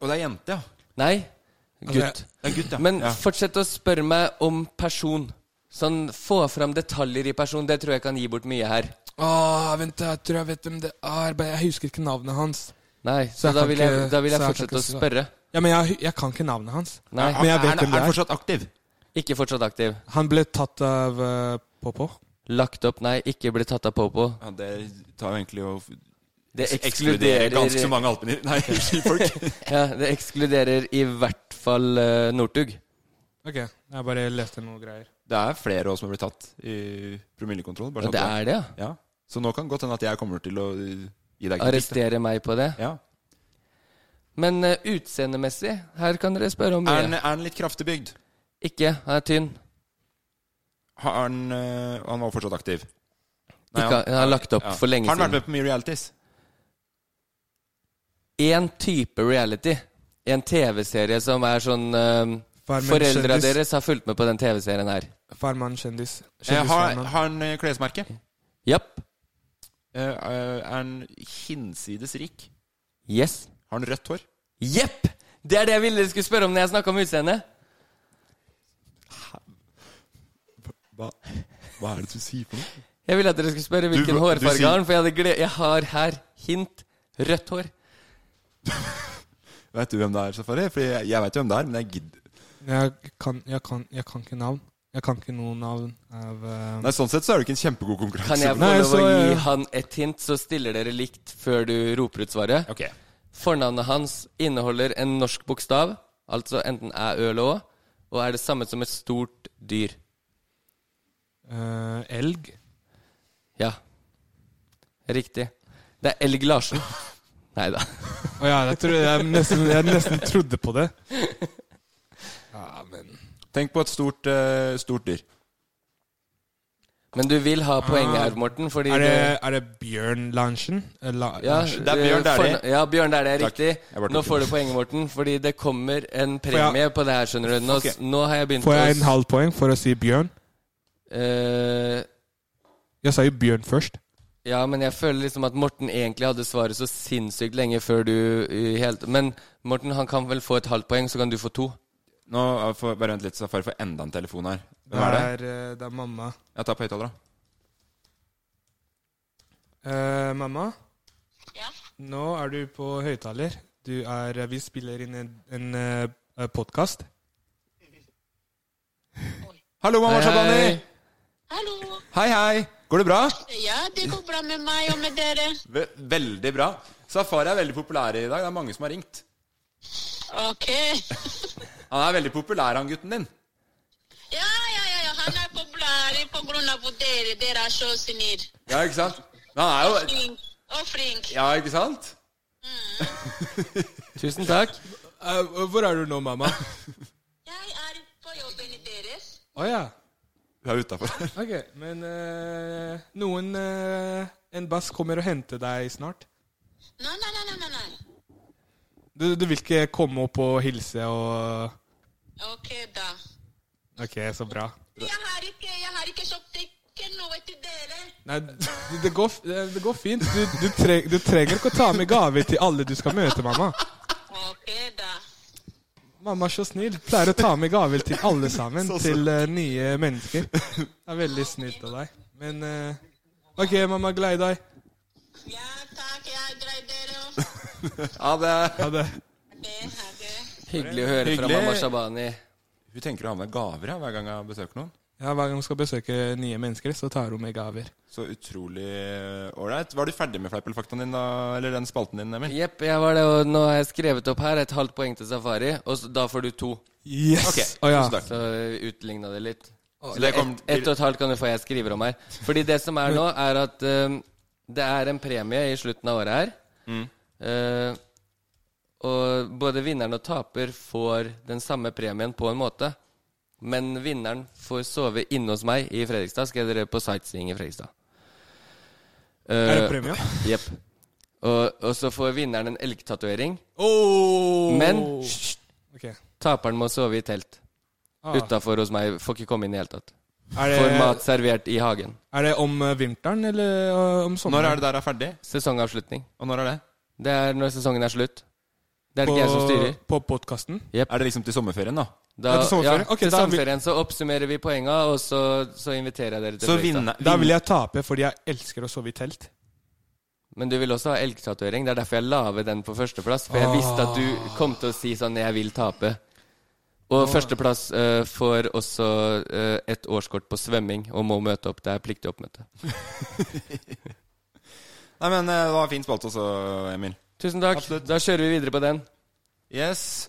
Speaker 3: Og det er jente, ja.
Speaker 14: Nei,
Speaker 4: Altså,
Speaker 3: det er-
Speaker 14: gutt.
Speaker 3: det er gutt, ja.
Speaker 14: Men
Speaker 3: Ja.
Speaker 14: fortsett å spørre meg om person. Sånn, Få fram detaljer i person. Det tror jeg kan gi bort mye her.
Speaker 4: Åh, vent, jeg tror jeg vet hvem det er, men jeg husker ikke navnet hans.
Speaker 14: Nei, så
Speaker 4: jeg
Speaker 14: da
Speaker 4: kan
Speaker 14: vil jeg-
Speaker 4: ikke-
Speaker 14: da vil jeg
Speaker 4: så
Speaker 14: fortsette
Speaker 4: kan
Speaker 14: å
Speaker 4: ikke-
Speaker 14: spørre.
Speaker 4: Ja, men jeg, jeg kan ikke navnet hans.
Speaker 14: Nei.
Speaker 4: Men jeg
Speaker 3: er,
Speaker 4: vet
Speaker 3: han-
Speaker 4: hvem det
Speaker 3: er han
Speaker 4: er.
Speaker 3: fortsatt aktiv?
Speaker 14: Ikke fortsatt aktiv.
Speaker 4: Han ble tatt av eh, Popo.
Speaker 14: Lagt opp, nei, ikke bli tatt av Popo.
Speaker 3: Ja, det tar jo egentlig å
Speaker 14: Det
Speaker 3: ekskludere
Speaker 14: ekskluderer
Speaker 3: ganske så mange alpini... Nei, skifolk.
Speaker 14: ja, det ekskluderer i hvert fall eh, Northug.
Speaker 4: Ok, jeg bare leste noen greier.
Speaker 3: Det er flere også som har blitt tatt i promillekontroll. bare
Speaker 14: Ja,
Speaker 3: sånn
Speaker 14: det
Speaker 3: at
Speaker 14: er det,
Speaker 3: ja. Så nå kan godt hende at jeg kommer til å uh, gi deg kritikk, da.
Speaker 14: Arrestere meg på det.
Speaker 3: Ja.
Speaker 14: Men eh, utseendemessig, her kan dere spørre om
Speaker 3: Er
Speaker 14: mye.
Speaker 3: han, er han litt kraftig bygd?
Speaker 14: Ikke, han er tynn.
Speaker 3: Har han, øh, han var fortsatt aktiv?
Speaker 14: Ikke, han har lagt opp for lenge
Speaker 3: Har han vært
Speaker 14: siden.
Speaker 3: med på mye realities?
Speaker 14: Én type reality. En TV-serie som er sånn eh,
Speaker 4: Farmen
Speaker 14: Foreldra
Speaker 4: kjendis.
Speaker 14: deres har fulgt med på den TV-serien her.
Speaker 4: Farman kjendis.
Speaker 3: Eh, har,
Speaker 4: Kjendisfarman.
Speaker 3: har han eh, klesmerke?
Speaker 14: Japp.
Speaker 3: Eh, eh, er han hinsides rik?
Speaker 14: Yes.
Speaker 3: Har han rødt hår?
Speaker 14: Jepp! Det er det jeg ville dere skulle spørre om når jeg snakka om utseendet.
Speaker 3: Hva, hva er det du sier for noe?
Speaker 14: Jeg ville at dere skulle spørre
Speaker 3: Du-
Speaker 14: hvilken
Speaker 3: du
Speaker 14: hårfarge
Speaker 3: sier-
Speaker 14: har han For jeg, hadde gle jeg har her hint rødt hår.
Speaker 3: Vet du hvem det er, Safari? Fordi jeg, jeg vet jo hvem det er, men jeg gidder
Speaker 4: Jeg kan, jeg, kan, jeg kan ikke navn. Jeg kan ikke noe navn av eh,
Speaker 3: Nei, Sånn sett så er det ikke en kjempegod konkurranse.
Speaker 14: Kan jeg få
Speaker 4: Nei,
Speaker 14: lov
Speaker 4: så,
Speaker 14: å gi
Speaker 4: eh,
Speaker 14: han et hint, så stiller dere likt før du roper ut svaret?
Speaker 3: Ok.
Speaker 14: Fornavnet hans inneholder en norsk bokstav, altså enten æ, ø eller å, og er det samme som et stort dyr.
Speaker 4: eh, elg.
Speaker 14: Ja. Riktig. Det er Elg Larsen. Nei da.
Speaker 4: Å ja, jeg, tror, jeg, nesten, jeg nesten trodde på det. Ja, men
Speaker 3: Tenk på et stort, eh, stort dyr.
Speaker 1: Men du vil ha poenget her, Morten, fordi
Speaker 4: Ah. er det,
Speaker 1: du-
Speaker 4: er det Bjørn Lanchen? Eh, La,
Speaker 1: Ja,
Speaker 4: Lanchen?
Speaker 1: eh, forna- Ja, Bjørn Dæhlie er
Speaker 4: Takk.
Speaker 1: riktig.
Speaker 4: Jeg ble
Speaker 1: Nå
Speaker 4: tatt.
Speaker 1: får du poenget, Morten, fordi det kommer en
Speaker 4: jeg-
Speaker 1: premie på det her, skjønner du. Nå, s-
Speaker 4: Ok.
Speaker 1: nå har jeg begynt
Speaker 4: Får jeg
Speaker 1: å
Speaker 4: en halv poeng for å si Bjørn?
Speaker 1: Eh,
Speaker 4: Jeg sa jo Bjørn først.
Speaker 1: ja, men jeg føler liksom at Morten egentlig hadde svaret så sinnssykt lenge før du i helt Men Morten, han kan vel få et halvt poeng, så kan du få to.
Speaker 3: Nå, eh, får- Bare vent litt, så får jeg få enda en telefon her. Hvem
Speaker 4: Det
Speaker 3: er det?
Speaker 4: er, eh, det er mamma.
Speaker 3: Jeg tar på høyttaler, da.
Speaker 4: Eh, mamma? Nå er du på høyttaler. Du er eh, Vi spiller inn en, en eh, podkast.
Speaker 3: Hallo, mamma
Speaker 4: Hei, hei.
Speaker 3: Shabani!
Speaker 12: Hallo.
Speaker 3: Hei, hei! Går det bra?
Speaker 12: Ja, det går bra med meg og med dere.
Speaker 3: Ve- Veldig bra. Safari er veldig populær i dag. Det er mange som har ringt.
Speaker 12: Ok.
Speaker 3: Han er veldig populær, han gutten din.
Speaker 12: Ja, ja, ja, ja. han er populær på grunn av dere. Dere er så snill.
Speaker 3: Ja, ikke sant? Men han er jo
Speaker 12: Flink. Og flink. Mm.
Speaker 3: Ja, ikke sant?
Speaker 1: Tusen takk.
Speaker 4: Eh, hvor er du nå, mamma?
Speaker 12: Jeg er på jobben deres.
Speaker 4: Å ja.
Speaker 3: Du er utafor.
Speaker 4: Ok, men eh, noen eh, En bass kommer og henter deg snart.
Speaker 12: Nei, nei, nei, nei, nei, nei.
Speaker 4: Du, du vil ikke komme opp og hilse og
Speaker 12: Ok, da.
Speaker 4: Ok, så bra.
Speaker 12: Jeg har ikke, jeg har ikke kjøpt ikke noe til dere.
Speaker 4: Nei, det, det, går, f- det går fint. Du, du, treng, du trenger ikke å ta med gaver til alle du skal møte, mamma.
Speaker 12: Ok, da.
Speaker 4: Mamma er så snill. Pleier å ta med gaver til alle sammen.
Speaker 12: Så søtt.
Speaker 4: Til eh, nye mennesker. Det er veldig snilt av deg. Men eh, OK, mamma. Glad i deg.
Speaker 3: Ha det.
Speaker 4: Ha det.
Speaker 1: Hyggelig å høre fra
Speaker 3: Hyggelig.
Speaker 1: mamma Shabani.
Speaker 3: Hun tenker å ha med gaver ja, hver gang jeg besøker noen.
Speaker 4: Ja, Hver gang hun skal besøke nye mennesker, så tar hun med gaver.
Speaker 3: Så utrolig ålreit. Var du ferdig med fleip eller faktaen din, da? Eller den spalten din, Emil?
Speaker 1: Jepp, jeg var det, og nå har jeg skrevet opp her et halvt poeng til Safari, og så, da får du to.
Speaker 4: Yes! Å, ja.
Speaker 1: Så, så utligna det litt.
Speaker 3: Å,
Speaker 1: Så
Speaker 3: det
Speaker 1: det
Speaker 3: kom-
Speaker 1: ett ett og et halvt kan du få, jeg skriver om her. Fordi det som er nå, er at eh, det er en premie i slutten av året her.
Speaker 3: Mm.
Speaker 1: Eh, og både vinneren og taper får den samme premien på en måte. Men vinneren får sove inne hos meg i Fredrikstad. Skal dere på sightseeing i Fredrikstad.
Speaker 4: Er det
Speaker 1: Eh,
Speaker 4: premie?
Speaker 1: Jepp. Og, og så får vinneren en elgtatovering.
Speaker 4: Oh!
Speaker 1: Men
Speaker 4: Ok.
Speaker 1: taperen må sove i telt.
Speaker 4: Ah.
Speaker 1: Utafor hos meg. Får ikke komme inn i det hele tatt.
Speaker 4: Er det-
Speaker 1: Får mat servert i hagen.
Speaker 4: Er det om eh, vinteren eller eh, om sommeren?
Speaker 1: Når er det
Speaker 3: der er ferdig?
Speaker 1: Sesongavslutning.
Speaker 3: Og når er det?
Speaker 1: Det er når sesongen er slutt. Det er det ikke jeg som styrer.
Speaker 4: På podkasten?
Speaker 3: Er det liksom til sommerferien, da?
Speaker 1: Da,
Speaker 4: til sommerferien?
Speaker 1: Ja,
Speaker 4: Ok,
Speaker 1: til
Speaker 4: da vil-
Speaker 1: sommerferien så oppsummerer vi poenga, og så, så inviterer jeg dere til Fredrikstad.
Speaker 4: Da vil jeg tape, fordi jeg elsker å sove i telt.
Speaker 1: Men du vil også ha elgtatovering. Det er derfor jeg la ved den på førsteplass. For jeg
Speaker 4: Ah.
Speaker 1: visste at du kom til å si sånn 'jeg vil tape'. Og
Speaker 4: Ah.
Speaker 1: førsteplass eh, får også eh, et årskort på svømming og må møte opp. Det er pliktig oppmøte.
Speaker 3: Nei, men eh, det var fin spalte også, Emil.
Speaker 1: Tusen takk. Da kjører vi videre på den.
Speaker 3: Yes.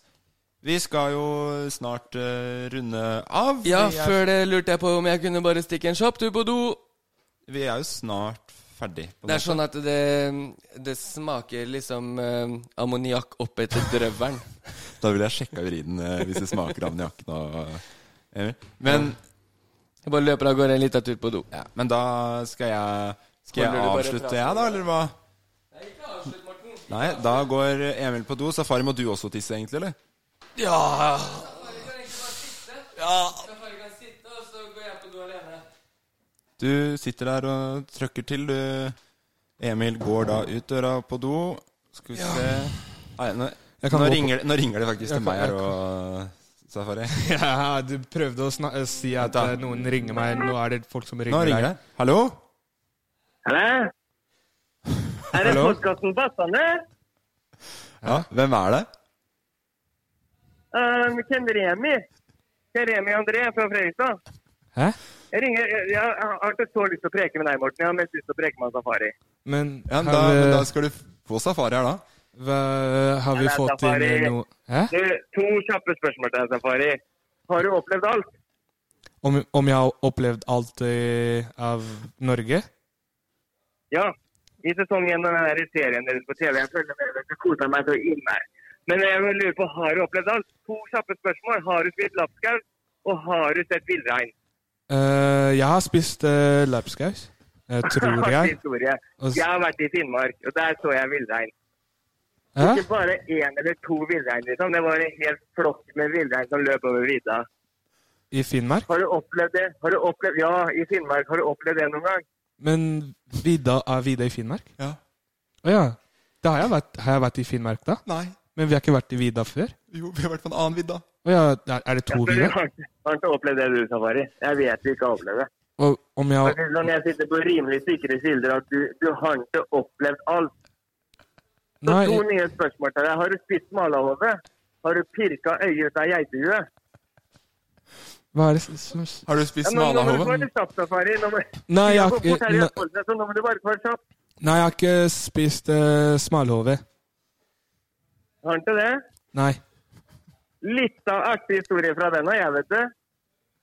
Speaker 3: Vi skal jo snart eh, runde av.
Speaker 1: Ja,
Speaker 3: Vi er-
Speaker 1: før det lurte jeg på om jeg kunne bare stikke en kjapp tur på do.
Speaker 3: Vi er jo snart ferdig. på en
Speaker 1: Det er
Speaker 3: måte.
Speaker 1: sånn at det, det smaker liksom eh, ammoniakk opp etter drøvelen.
Speaker 3: Da vil jeg sjekke urinen eh, hvis det smaker ammoniakk nå, eh, Emil. Men
Speaker 1: Jeg bare løper av gårde en liten tur på do.
Speaker 3: Ja, men da skal jeg Skal
Speaker 1: Holder du
Speaker 3: jeg
Speaker 1: bare
Speaker 3: avslutte,
Speaker 1: praten?
Speaker 3: jeg, da, eller hva? Nei, da går Emil på do. Safari, må du også tisse, egentlig, eller?
Speaker 1: Ja
Speaker 4: Ja.
Speaker 3: Du sitter der og trøkker til, du. Emil går da ut døra på do. Skal vi se Nei, nå,
Speaker 4: Jeg kan
Speaker 3: nå,
Speaker 4: gå på-
Speaker 3: ringer, det- nå ringer det faktisk
Speaker 4: Jeg
Speaker 3: til
Speaker 4: kan-
Speaker 3: meg
Speaker 4: jeg
Speaker 3: her og Safari.
Speaker 4: Ja, du prøvde å sna eh, si at eh, noen ringer meg. Nå er det folk som ringer,
Speaker 3: Nå ringer det. Hallo?
Speaker 14: Hallo? Er det
Speaker 3: Hallo?
Speaker 14: podkasten Bassene?
Speaker 3: Ja, hvem er det?
Speaker 14: Uh, Ken Remi. Ken Remi André fra Fredrikstad.
Speaker 4: Hæ?
Speaker 14: Jeg, ringer, eh, jeg har ikke så lyst til å preke med deg, Morten. Jeg har mest lyst til å preke med Safari.
Speaker 4: Men,
Speaker 3: Ja, men
Speaker 4: har
Speaker 3: da,
Speaker 4: vi-
Speaker 3: men da skal du få Safari her, da.
Speaker 4: hva- har vi
Speaker 14: Nei,
Speaker 4: fått inn
Speaker 14: Safari.
Speaker 4: eh, noe Hæ?
Speaker 14: Du, to kjappe spørsmål til deg, Safari. Har du opplevd alt?
Speaker 4: Om, om jeg har opplevd alt eh, av Norge?
Speaker 14: Ja. I sesong én av denne serien deres på TV. Jeg følger med dere. Jeg koser meg så inn her. Men jeg lurer på, har du opplevd alt? To kjappe spørsmål. Har du spist lapskaus? Og har du sett villrein?
Speaker 4: Eh, jeg har spist uh, lapskaus, eh, tror jeg.
Speaker 14: Historie.
Speaker 4: Og s-
Speaker 14: Jeg har vært i Finnmark, og der så jeg villrein.
Speaker 4: Hæ?
Speaker 14: Ikke bare én eller to villrein, liksom. Det var en hel flokk med villrein som løp over vidda.
Speaker 4: I Finnmark.
Speaker 14: Har du opplevd det? Har du opplevd, ja, i Finnmark. Har du opplevd det noen gang?
Speaker 4: Men vidda er vidda i Finnmark?
Speaker 3: Ja.
Speaker 4: Å ja. Da har jeg vært, har jeg vært i Finnmark, da?
Speaker 3: Nei.
Speaker 4: Men vi har ikke vært i vidda før?
Speaker 3: Jo, vi har vært på en annen vidda.
Speaker 4: Å ja, er- er det to
Speaker 14: Men du
Speaker 4: vidder?
Speaker 14: har, ikke- har ikke opplevd det du, Safari. Jeg vet du ikke har opplevd det.
Speaker 4: Og om jeg
Speaker 14: Jeg synes Når jeg sitter på rimelig sikre kilder at du, du har ikke opplevd alt. Så
Speaker 4: Nei.
Speaker 14: to nye spørsmål til deg. Har du spist malerhove? Har du pirka øyet ut av geitehue?
Speaker 4: Hva er det s- som
Speaker 3: Har du
Speaker 14: Ja, nå, nå må du være kjapp, Safari. Nå må,
Speaker 4: Nei, jeg-
Speaker 14: må fort her i
Speaker 4: nei.
Speaker 14: Østfold, så nå må du bare være kjapp.
Speaker 4: Nei, jeg har ikke spist uh, smalhove.
Speaker 14: Har han ikke det?
Speaker 4: Nei.
Speaker 14: Litt av artig historie fra den har jeg, vet du.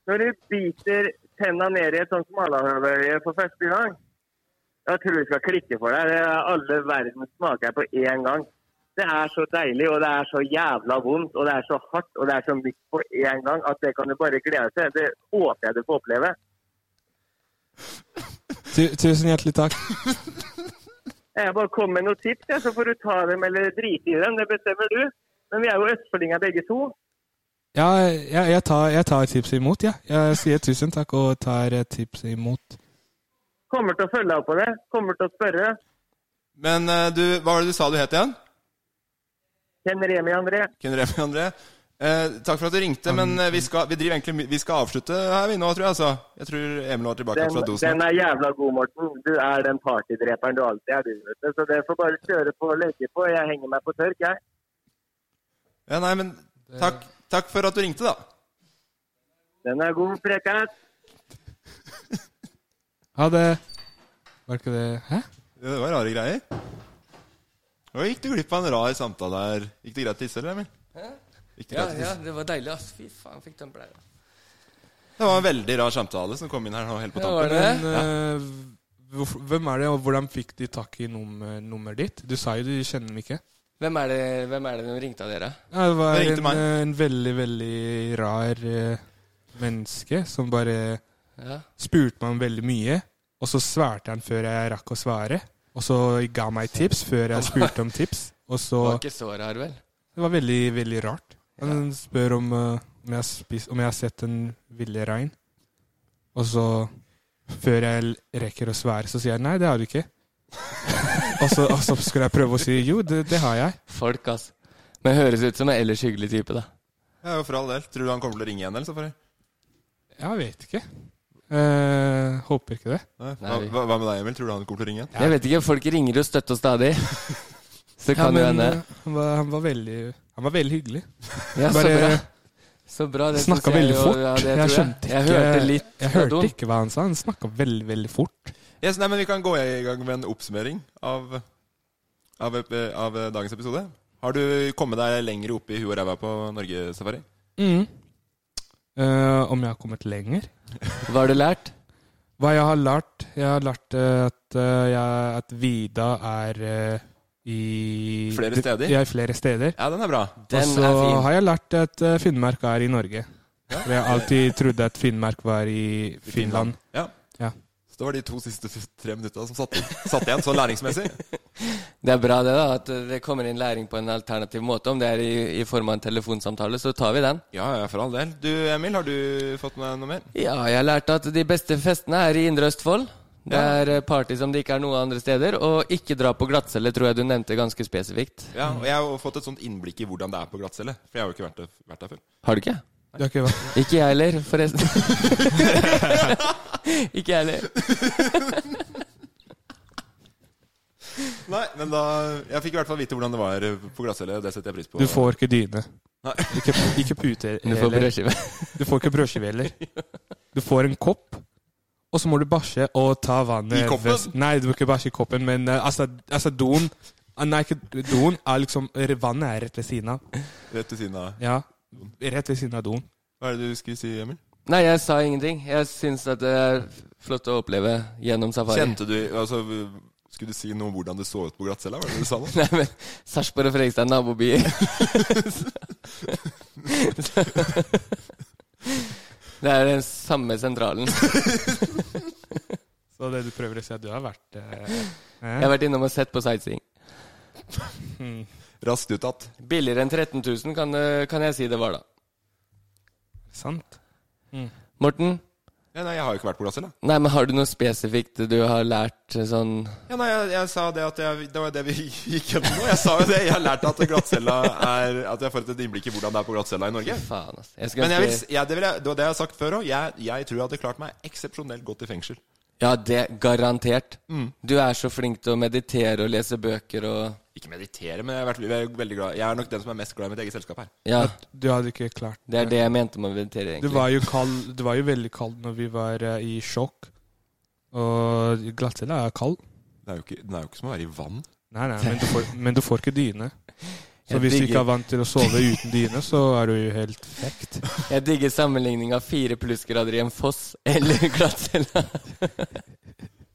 Speaker 14: Når du biter tenna ned i et sånt smalahøveøye for første gang Jeg tror du skal klikke for deg. Det er alle verdens smaker jeg på én gang. Det er så deilig, og det er så jævla vondt, og det er så hardt, og det er så mykt på én gang at det kan du bare glede deg til. Det håper jeg du får oppleve.
Speaker 4: Tu tusen hjertelig takk.
Speaker 14: Jeg bare kom med noen tips, jeg, så får du ta dem eller drite i dem. Det bestemmer du. Men vi er jo østfoldinger begge to.
Speaker 4: Ja, jeg, jeg, tar, jeg tar tipset imot, jeg. Jeg sier tusen takk og tar eh, tipset imot.
Speaker 14: Kommer til å følge opp på det. Kommer til å spørre.
Speaker 3: Men eh, du, hva var det du sa du het igjen?
Speaker 14: Ken Remi André.
Speaker 3: Ken Remi André. Eh, takk for at du ringte, men eh, vi skal, vi, driver egentlig, vi skal avslutte her vi nå, tror jeg. Altså. Jeg tror Emil var tilbake
Speaker 14: Den,
Speaker 3: fra dosen.
Speaker 14: den er jævla god, Morten. Du er den partydreperen du alltid er, du. Vet du. Så det får bare kjøre på og legge på. Jeg henger meg på tørk, jeg.
Speaker 3: Ja, nei, men takk, takk for at du ringte, da.
Speaker 14: Den er god, Prekat.
Speaker 4: Ha det. Var ikke det Hæ?
Speaker 3: Det var rare greier. Og gikk du glipp av en rar samtale der? Gikk det greit å tisse, eller, Emil? Gikk det
Speaker 15: Ja,
Speaker 3: greit å
Speaker 15: ja,
Speaker 3: tisse?
Speaker 15: det var deilig, ass. Fy faen, fikk tømpel her.
Speaker 3: Det var en veldig rar samtale som kom inn her nå helt på
Speaker 15: Ja, var
Speaker 3: tampen.
Speaker 15: det?
Speaker 4: Men, eh, hvorfor, hvem er det, og hvordan fikk de tak i nummer, nummeret ditt? Du sa jo du kjenner dem ikke.
Speaker 15: Hvem er det, hvem er det som ringte av dere?
Speaker 4: Ja, det var
Speaker 15: Hvem ringte
Speaker 4: en,
Speaker 15: meg?
Speaker 4: eh, en veldig, veldig rar eh, menneske som bare
Speaker 15: Ja.
Speaker 4: spurte meg om veldig mye, og så svarte han før jeg rakk å svare. Og så ga meg tips før jeg spurte om tips. Og så
Speaker 15: Det var ikke så rar, vel?
Speaker 4: Det var veldig, veldig rart. Han spør om, eh, om, jeg har spist, om jeg har sett en ville rein. Og så, før jeg l- rekker å svare, så sier jeg nei, det har du ikke. og, så, og så skulle jeg prøve å si jo, det, det har jeg.
Speaker 15: Folk, ass. Men høres ut som en ellers hyggelig type, da.
Speaker 3: eh, Ja, jo, for all del. Tror du han kommer til å ringe igjen, eller? Safari?
Speaker 4: Jeg vet ikke. Eh, håper ikke det.
Speaker 3: Nei. Hva,
Speaker 15: vi-
Speaker 3: hva hva med deg, Emil? Tror du han kommer til å ringe igjen?
Speaker 15: Jeg vet ikke, folk ringer jo støtt og stadig. Så det kan jo
Speaker 4: ja, men,
Speaker 15: hende.
Speaker 4: eh, han, var, han, var veldig, han var veldig hyggelig.
Speaker 15: Ja, så
Speaker 4: Bare-
Speaker 15: bra. Så bra, det synes
Speaker 4: Snakka
Speaker 15: jeg
Speaker 4: veldig
Speaker 15: jo-
Speaker 4: fort.
Speaker 15: ja, det
Speaker 4: jeg,
Speaker 15: tror jeg.
Speaker 4: skjønte ikke
Speaker 15: Jeg hørte litt
Speaker 4: Jeg
Speaker 15: fra
Speaker 4: hørte
Speaker 15: doen.
Speaker 4: ikke hva han sa. Han snakka veldig, veldig fort.
Speaker 3: Yes, nei, men Vi kan gå i gang med en oppsummering av, av, av dagens episode. Har du kommet deg lenger opp i huet og ræva på Norgesafari?
Speaker 15: Mm.
Speaker 4: Eh, om jeg har kommet lenger?
Speaker 15: Hva har du lært?
Speaker 4: Hva jeg har lært? Jeg har lært eh, at, eh, jeg, at Vida er eh, i
Speaker 3: Flere steder?
Speaker 4: Ja, i flere steder.
Speaker 3: Ja, den er bra.
Speaker 4: Og så har jeg lært at eh, Finnmark er i Norge.
Speaker 3: Ja.
Speaker 4: For jeg alltid trodde at Finnmark var i Finland.
Speaker 3: Ja.
Speaker 4: Ja.
Speaker 3: Så det var de to siste tre minutta som satt, satt igjen, så læringsmessig.
Speaker 15: Det er bra det, da. At det kommer inn læring på en alternativ måte. Om det er i, i form av en telefonsamtale, så tar vi den.
Speaker 3: Ja, ja, for all del. Du, Emil, har du fått med deg noe mer?
Speaker 15: Ja, jeg lærte at de beste festene er i Indre Østfold. Det er eh, party som det ikke er noe andre steder. Og ikke dra på glattcelle, tror jeg du nevnte ganske spesifikt.
Speaker 3: Ja, og jeg har jo fått et sånt innblikk i hvordan det er på glattcelle. For jeg har jo ikke vært, der- vært der før.
Speaker 15: Har du ikke?
Speaker 4: Det har ikke vært
Speaker 15: Ikke jeg heller, forresten. ikke jeg heller.
Speaker 3: Nei, men da Jeg fikk i hvert fall vite hvordan det var eh, på glattcelle. Det setter jeg pris på.
Speaker 4: Du får ikke dyne.
Speaker 3: Nei.
Speaker 4: Ikke, ikke pute
Speaker 15: Du får
Speaker 4: heller.
Speaker 15: brødskive.
Speaker 4: Du får ikke brødskive heller. Du får en kopp, og så må du bæsje og ta vannet
Speaker 3: I koppen?
Speaker 4: ved- Nei, du må ikke bæsje i koppen, men eh, altså, altså doen ah, Nei, ikke doen. Er liksom, vannet er rett ved siden av.
Speaker 3: Rett ved siden av.
Speaker 4: Ja. Rett ved siden av doen.
Speaker 3: Hva er det du skulle si, Emil?
Speaker 15: Nei, jeg sa ingenting. Jeg syns at det er flott å oppleve gjennom safari.
Speaker 3: Kjente du altså, Skulle du si noe om hvordan det så ut på glattcella? Var det det du sa nå?
Speaker 15: Nei, men Sarpsborg og Fredrikstad er nabobyer.
Speaker 14: Det er den samme sentralen.
Speaker 4: Så det du prøver å si, at du har vært eh, eh?
Speaker 14: Jeg har vært innom og sett på sightseeing.
Speaker 3: Raskt uttatt.
Speaker 14: Billigere enn 13 000 kan, eh, kan jeg si det var, da.
Speaker 4: Sant. Mm.
Speaker 14: Morten?
Speaker 3: Ja, nei, jeg har jo ikke vært på Brasil, da.
Speaker 14: Nei, men har du noe spesifikt du har lært eh, sånn
Speaker 3: Ja, nei, jeg, jeg sa det at jeg, Det var jo det vi gikk gjennom nå. Jeg sa jo det. Jeg har lært at glattcella er At jeg får et innblikk i hvordan det er på glattcella i Norge.
Speaker 14: Fy faen, ass. Jeg skulle
Speaker 3: Men jeg vil,
Speaker 14: ønske-
Speaker 3: s- ja, det, vil jeg, det var det jeg har sagt før òg. Jeg, jeg tror jeg hadde klart meg eksepsjonelt godt i fengsel.
Speaker 14: Ja, det garantert.
Speaker 3: Mm.
Speaker 14: Du er så flink til å meditere og lese bøker og
Speaker 3: Ikke meditere, men jeg, har vært, jeg, er veldig glad. jeg er nok den som er mest glad i mitt eget selskap her.
Speaker 14: Ja,
Speaker 4: At Du hadde ikke klart
Speaker 14: det er det jeg mente med meditering.
Speaker 4: Du var jo kald Du var jo veldig kald når vi var eh, i sjokk. Og glattcella er kald.
Speaker 3: Den er jo ikke, den er jo ikke som å være i vann.
Speaker 4: Nei, nei, men du får, men du får ikke dyne. Så
Speaker 14: Jeg
Speaker 4: hvis du
Speaker 14: digger-
Speaker 4: ikke er vant til å sove uten dyne, så er du jo helt fucked.
Speaker 14: Jeg digger sammenligning av fire plussgrader i en foss eller glattcella.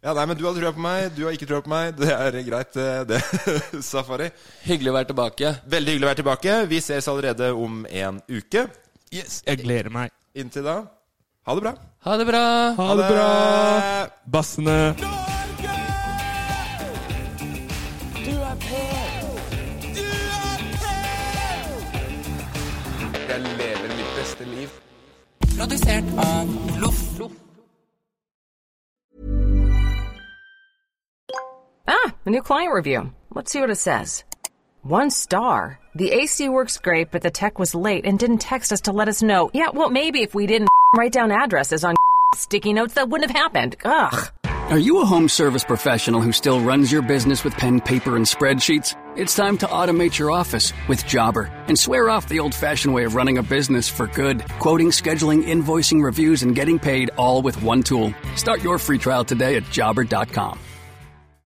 Speaker 3: Ja, nei, men Du har trua på meg, du har ikke trua på meg. Det er greit, eh, det, Safari.
Speaker 14: Hyggelig å være tilbake.
Speaker 3: Veldig hyggelig å være tilbake. Vi ses allerede om en uke.
Speaker 4: Yes, Jeg gleder meg.
Speaker 3: Inntil da, ha det bra.
Speaker 14: Ha det bra.
Speaker 4: Ha det bra! Bassene.
Speaker 16: Du er pen. Du er pen.
Speaker 3: Jeg lever mitt beste liv.
Speaker 16: Produsert av Loff.
Speaker 11: Ah, a new client review. Let's see what it says. One star. The AC works great, but the tech was late and didn't text us to let us know. Yeah, well, maybe if we didn't write down addresses on sticky notes, that wouldn't have happened. Ugh.
Speaker 1: Are you a home service professional who still runs your business with pen, paper, and spreadsheets? It's time to automate your office with Jobber and swear off the old fashioned way of running a business for good. Quoting, scheduling, invoicing, reviews, and getting paid all with one tool. Start your free trial today at jobber.com.